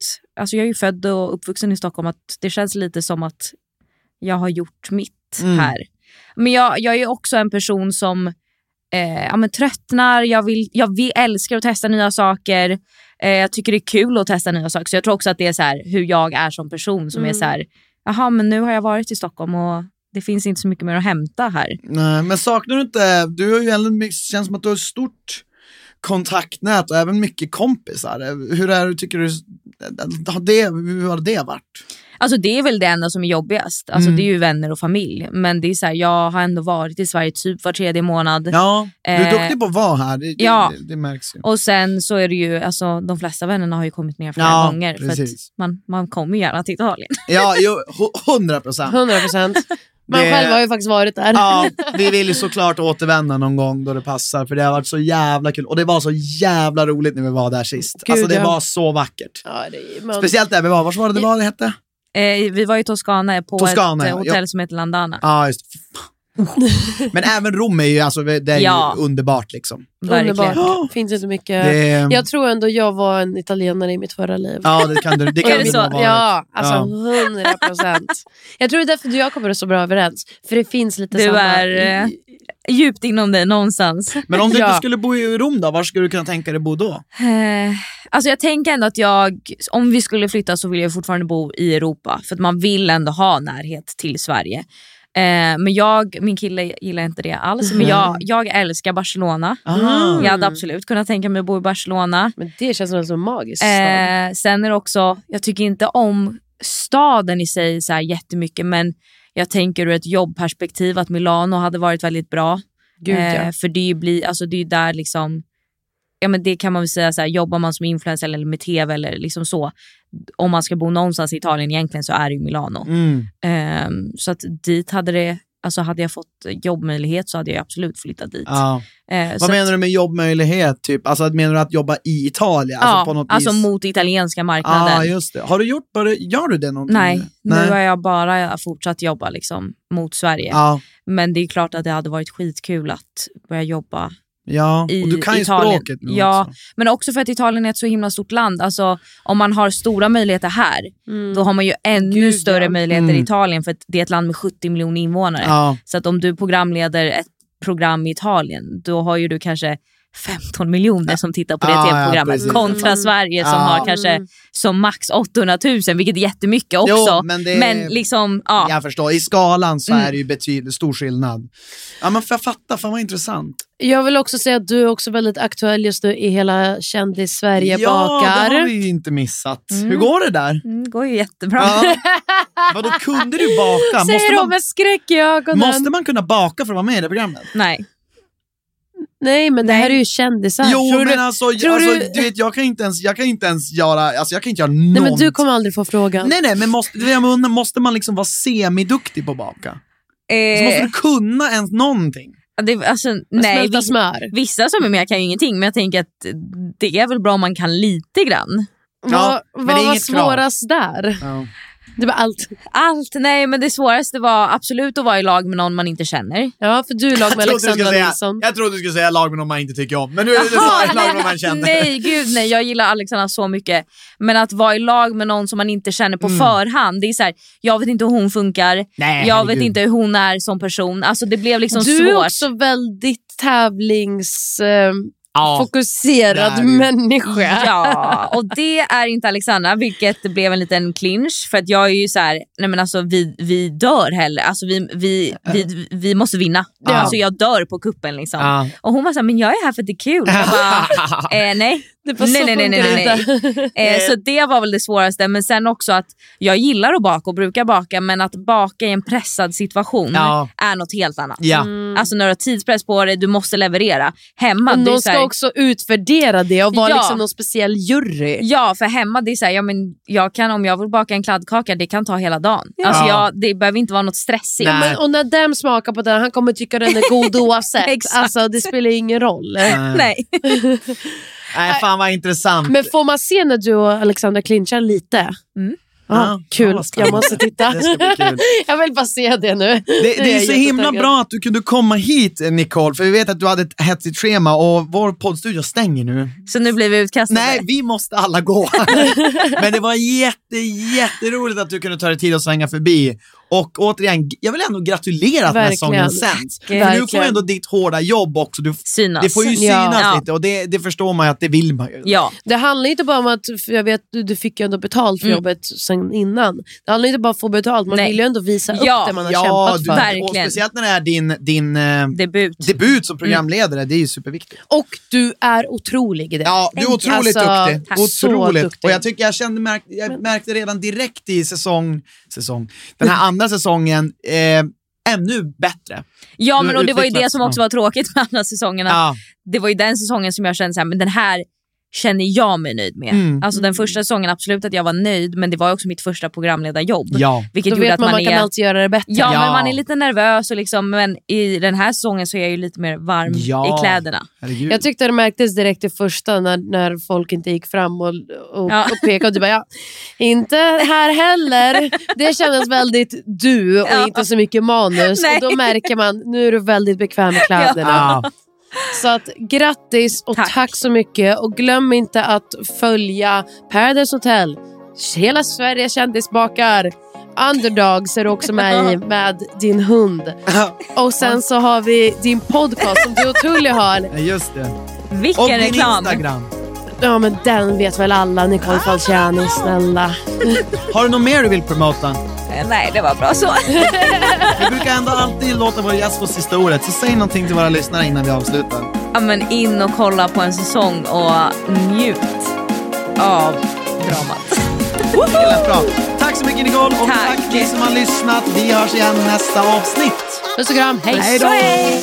Speaker 5: alltså jag är ju född och uppvuxen i Stockholm, att det känns lite som att jag har gjort mitt
Speaker 4: Mm.
Speaker 5: här. Men jag, jag är ju också en person som eh, ja, men tröttnar, jag, vill, jag vill, älskar att testa nya saker. Eh, jag tycker det är kul att testa nya saker. Så jag tror också att det är så här, hur jag är som person som är
Speaker 3: Mm.
Speaker 5: så här, jaha men nu har jag varit i Stockholm och det finns inte så mycket mer att hämta här.
Speaker 4: Nej, men saknar du inte, du har ju ändå, det känns som att du har ett stort kontaktnät och även mycket kompisar. Hur är det, tycker du, har det, hur har det varit?
Speaker 5: Alltså det är väl det enda som är jobbigast. Alltså
Speaker 4: Mm.
Speaker 5: det är ju vänner och familj. Men det är så här, jag har ändå varit i Sverige typ var tredje månad.
Speaker 4: Ja, du är
Speaker 5: Eh,
Speaker 4: duktig på att vara här, det,
Speaker 5: ja.
Speaker 4: det, det märks ju.
Speaker 5: Och sen så är det ju, alltså de flesta vännerna har ju kommit ner flera
Speaker 4: Ja,
Speaker 5: gånger. För att
Speaker 4: precis.
Speaker 5: man, man kommer ju gärna till Italien.
Speaker 4: Ja, jo, hu- hundra procent.
Speaker 3: 100 procent. Man
Speaker 4: Det-
Speaker 3: själv har ju faktiskt varit där.
Speaker 4: Ja, vi vill ju såklart återvända någon gång då det passar, för det har varit så jävla kul. Och det var så jävla roligt när vi var där sist.
Speaker 3: Gud,
Speaker 4: alltså det
Speaker 3: ja.
Speaker 4: var så vackert.
Speaker 3: Ja, det är, man,
Speaker 4: Speciellt där vi var, vart var det det var det hette?
Speaker 5: Eh, vi var ju i Toscana på
Speaker 4: Toscana,
Speaker 5: ett
Speaker 4: ja.
Speaker 5: eh, hotell som heter Landana.
Speaker 4: Ja, just det. Fan. Men även Rom är ju, alltså, det är ju
Speaker 5: Ja.
Speaker 4: underbart liksom.
Speaker 5: Verkligen.
Speaker 3: underbart. Finns inte mycket.
Speaker 4: Det,
Speaker 3: Jag tror ändå jag var en italienare i mitt förra liv.
Speaker 4: Ja, det kan du, det
Speaker 5: Är
Speaker 4: kan
Speaker 5: det
Speaker 4: du
Speaker 5: så?
Speaker 4: nog ha varit.
Speaker 3: Ja, alltså
Speaker 4: Ja.
Speaker 3: 100 procent. Jag tror det är därför du och jag kommer så bra överens. För det finns lite
Speaker 5: Du
Speaker 3: samma...
Speaker 5: är eh, djupt inom dig någonstans.
Speaker 4: Men om du
Speaker 3: Ja.
Speaker 4: inte skulle bo i Rom då, var skulle du kunna tänka dig bo då?
Speaker 5: Eh, alltså jag tänker ändå att jag, om vi skulle flytta så vill jag fortfarande bo i Europa. För att man vill ändå ha närhet till Sverige. Eh, men jag, min kille gillar inte det alls. Men jag, jag älskar Barcelona.
Speaker 4: Ah.
Speaker 5: Jag hade absolut kunnat tänka mig att bo i Barcelona.
Speaker 3: Men det känns som en sån magisk stad.
Speaker 5: Eh, sen är det också, jag tycker inte om staden i sig så här jättemycket. Men jag tänker ur ett jobbperspektiv att Milano hade varit väldigt bra.
Speaker 3: Gud, ja.
Speaker 5: Eh, för det är ju bli, alltså det är ju där liksom, ja men det kan man väl säga så här, jobbar man som influencer eller med tv eller liksom så, om man ska bo någonstans i Italien egentligen så är det ju Milano.
Speaker 4: Mm.
Speaker 5: Ehm, så att dit hade det, alltså hade jag fått jobbmöjlighet så hade jag absolut flyttat dit.
Speaker 4: Ja.
Speaker 5: Eh, så
Speaker 4: Vad
Speaker 5: att-
Speaker 4: menar du med jobbmöjlighet? Typ? Alltså, menar du att jobba i Italien?
Speaker 5: ja,
Speaker 4: alltså, på något
Speaker 5: alltså
Speaker 4: vis?
Speaker 5: mot italienska marknaden.
Speaker 4: Ja, just det. Har du gjort, bara, gör du det någonting?
Speaker 5: Nej,
Speaker 4: Nej.
Speaker 5: nu har jag bara fortsatt jobba liksom mot Sverige.
Speaker 4: Ja,
Speaker 5: Men det är klart att det hade varit skitkul att börja jobba
Speaker 4: ja.
Speaker 5: I
Speaker 4: och du kan ju
Speaker 5: Italien.
Speaker 4: språket nu
Speaker 5: Ja.
Speaker 4: också.
Speaker 5: Men också för att Italien är ett så himla stort land. Alltså, om man har stora möjligheter här, då har man ju ännu
Speaker 3: Gud,
Speaker 5: större
Speaker 3: ja.
Speaker 5: möjligheter i
Speaker 4: Mm.
Speaker 5: Italien för att det är ett land med 70 miljoner invånare.
Speaker 4: Ja.
Speaker 5: Så att om du programleder ett program i Italien, då har ju du kanske 15 miljoner som tittar på det
Speaker 4: Ah, ja,
Speaker 5: tv-programmet
Speaker 4: precis.
Speaker 5: kontra Sverige som
Speaker 4: Ja.
Speaker 5: har kanske som max 800 000 vilket är jättemycket också.
Speaker 4: Jo, men det-
Speaker 5: liksom, ja. Mm.
Speaker 4: Jag förstår, i skalan så är det ju betydligt stor skillnad. Ja men för jag fatta, fan vad intressant.
Speaker 3: Jag vill också säga att du är också väldigt aktuell just nu i hela kändis-Sverige
Speaker 4: ja,
Speaker 3: bakar.
Speaker 4: det har vi ju inte missat. Hur går det där?
Speaker 5: Mm, går ju jättebra.
Speaker 4: Ja. Vadå, kunde du baka?
Speaker 3: Säger
Speaker 4: Måste
Speaker 3: de
Speaker 4: man,
Speaker 3: med skräck i ögonen.
Speaker 4: måste man kunna baka för att vara med i det programmet?
Speaker 5: Nej.
Speaker 3: Nej, men det
Speaker 5: Nej.
Speaker 3: här är ju kändisar.
Speaker 4: Jo,
Speaker 3: Tror du-
Speaker 4: men alltså,
Speaker 3: tror
Speaker 4: alltså
Speaker 3: du-
Speaker 4: du... vet, jag kan inte ens, jag kan inte ens göra, alltså jag kan inte göra någonting.
Speaker 3: Nej, men du kommer aldrig få frågan.
Speaker 4: Nej, nej, men måste, det jag undrar, måste man liksom vara semiduktig på att baka? Så Alltså, måste
Speaker 5: Eh,
Speaker 4: du kunna ens någonting?
Speaker 5: det, alltså,
Speaker 3: Att
Speaker 5: nej
Speaker 3: Smälta
Speaker 5: vi,
Speaker 3: smör.
Speaker 5: vissa som är med kan ju ingenting men jag tänker att det är väl bra om man kan lite grann.
Speaker 3: Vad-
Speaker 4: men det är
Speaker 3: vad var
Speaker 4: inget krav.
Speaker 3: svårast där?
Speaker 4: Ja.
Speaker 3: Det var allt.
Speaker 5: Allt, nej men det svåraste var absolut att vara i lag med någon man inte känner.
Speaker 3: Ja, för du är i lag med Alexandra Nilsson.
Speaker 4: jag trodde du skulle säga lag med någon man inte tycker om, men nu är det
Speaker 5: Jaha,
Speaker 4: så, lag med man känner.
Speaker 5: Nej, gud nej. Jag gillar Alexandra så mycket. Men att vara i lag med någon som man inte känner på förhand. Det är så här, jag vet inte hur hon funkar.
Speaker 4: Nej,
Speaker 5: jag
Speaker 4: herregud.
Speaker 5: vet inte hur hon är som person. Alltså det blev liksom
Speaker 3: Du är
Speaker 5: svårt.
Speaker 3: också väldigt tävlingsfokuserad
Speaker 4: Ja. det är du.
Speaker 3: människa.
Speaker 5: Ja, och det är inte Alexandra, vilket det blev en liten clinch. För att jag är ju så här, nej men alltså vi, vi dör hellre. Alltså vi, vi, vi, vi måste vinna.
Speaker 4: Ja.
Speaker 5: Alltså jag dör på kuppen liksom.
Speaker 4: Ja.
Speaker 5: Och hon var såhär, men jag är här för att det är kul. Jag bara, eh, nej.
Speaker 3: Det var så
Speaker 5: nej, nej, nej, nej,
Speaker 3: funkar
Speaker 5: nej, nej.
Speaker 3: det inte.
Speaker 5: Eh, så det var väl det svåraste. Men sen också att jag gillar att baka och brukar baka men att baka i en pressad situation
Speaker 4: Ja.
Speaker 5: är något helt annat.
Speaker 4: Ja.
Speaker 5: Alltså när du har tidspress på dig, du måste leverera. Hemma,
Speaker 3: Och
Speaker 5: det är
Speaker 3: någon
Speaker 5: så här,
Speaker 3: ska också utvärdera det och vara
Speaker 5: Ja.
Speaker 3: liksom någon speciell jury.
Speaker 5: Ja, för hemma det är så här, ja, men jag kan, om jag vill baka en kladdkaka det kan ta hela dagen. Alltså jag, det behöver inte vara något stressigt.
Speaker 4: Nej.
Speaker 3: Men, och när Dem smakar på den, han kommer tycka den är god oavsett.
Speaker 5: Exakt.
Speaker 3: alltså, det spelar ju ingen roll.
Speaker 5: Nej.
Speaker 4: Nej, fan vad intressant.
Speaker 3: Men får man se när du och Alexandra clinchar lite?
Speaker 5: Mm.
Speaker 3: Ja,
Speaker 4: Ja, fan
Speaker 3: kul,
Speaker 4: vad spännande.
Speaker 3: jag måste titta.
Speaker 4: Det ska bli kul.
Speaker 3: jag vill bara se det nu.
Speaker 4: Det,
Speaker 3: Nu
Speaker 4: det är
Speaker 3: jag
Speaker 4: så himla
Speaker 3: jättetaggad.
Speaker 4: bra att du kunde komma hit eh, Nicole, för vi vet att du hade ett hetsigt schema och vår poddstudio stänger nu.
Speaker 5: Så nu blir vi utkastade.
Speaker 4: Nej, vi måste alla gå. Men det var jätte, jätteroligt att du kunde ta dig tid att svänga förbi. Och återigen, jag vill ändå gratulera att den här
Speaker 3: Verkligen.
Speaker 4: sången sänds. För nu får
Speaker 3: Verkligen.
Speaker 4: ändå ditt hårda jobb också. Du,
Speaker 5: Synas.
Speaker 4: det får ju
Speaker 3: Ja.
Speaker 4: synas
Speaker 5: Ja.
Speaker 4: lite och det, det förstår man ju att det vill man ju.
Speaker 5: Ja.
Speaker 3: Det handlar inte bara om att, för jag vet du, du fick ju ändå betalt för
Speaker 5: Mm.
Speaker 3: jobbet sen innan. Det handlar inte bara om att få betalt, man
Speaker 5: Nej.
Speaker 3: vill ju ändå visa
Speaker 5: Ja,
Speaker 3: upp det man har
Speaker 4: Ja,
Speaker 3: kämpat
Speaker 4: du,
Speaker 3: för.
Speaker 5: Verkligen. Mm.
Speaker 4: och speciellt när det är din, din eh,
Speaker 5: Debut.
Speaker 4: debut som programledare, det är ju superviktigt.
Speaker 3: Och du är otrolig i det.
Speaker 4: Ja, du är otroligt
Speaker 3: Alltså,
Speaker 4: duktig.
Speaker 3: tack.
Speaker 4: Otroligt.
Speaker 3: Så duktig.
Speaker 4: Och jag tycker jag, kände, märk, jag märkte redan direkt i säsong, säsong, den här andra säsongen, eh, ännu bättre.
Speaker 5: Ja,
Speaker 4: Du
Speaker 5: men
Speaker 4: har
Speaker 5: och det var ju det
Speaker 4: utvecklats,
Speaker 5: som också
Speaker 4: ja.
Speaker 5: var tråkigt med andra säsongerna.
Speaker 4: Ja.
Speaker 5: Det var ju den säsongen som jag kände så här, men den här känner jag mig nöjd med.
Speaker 4: Mm.
Speaker 5: Alltså den första säsongen absolut att jag var nöjd men det var ju också mitt första programledarjobb.
Speaker 4: ja.
Speaker 5: Vilket
Speaker 3: Då
Speaker 5: gjorde
Speaker 3: vet
Speaker 5: att
Speaker 3: man
Speaker 5: man,
Speaker 3: man
Speaker 5: är...
Speaker 3: kan alltid göra det bättre.
Speaker 5: Ja,
Speaker 4: Ja.
Speaker 5: men man är lite nervös och liksom, men i den här säsongen så är jag ju lite mer varm
Speaker 4: Ja.
Speaker 5: i kläderna.
Speaker 4: Herregud.
Speaker 3: Jag tyckte det märktes direkt i första när, när folk inte gick fram och, och,
Speaker 5: Ja.
Speaker 3: och pekade. Och du bara, ja, inte här heller. Det kändes väldigt du och
Speaker 5: Ja.
Speaker 3: inte så mycket manus.
Speaker 5: Nej.
Speaker 3: Och då märker man, nu är du väldigt bekväm i kläderna.
Speaker 4: ja.
Speaker 3: Så att, grattis och tack.
Speaker 5: Tack.
Speaker 3: så mycket. Och glöm inte att följa Paradise Hotel, Hela Sverige kändisbakar, Underdogs är du också med i med din hund. Och sen så har vi din podcast som du och Tully har.
Speaker 4: Ja, Just det.
Speaker 5: Vilken
Speaker 4: Och din
Speaker 5: reklam!
Speaker 4: Instagram.
Speaker 3: Ja men den vet väl alla Nicole Falciani, snälla.
Speaker 4: Har du något mer du vill promota?
Speaker 5: Eh, Nej, det var bra så.
Speaker 4: Vi brukar ändå alltid låta vår gäst få sista ordet, så säg någonting till våra lyssnare innan vi avslutar.
Speaker 5: ja, men in och kolla på en säsong och njut av dramat.
Speaker 4: Det lät bra. Tack så mycket Nicole och tack,
Speaker 5: Tack.
Speaker 4: ni som har lyssnat. Vi hörs igen nästa avsnitt.
Speaker 3: Puss och kram, hej!
Speaker 4: Hej då.
Speaker 5: Hej!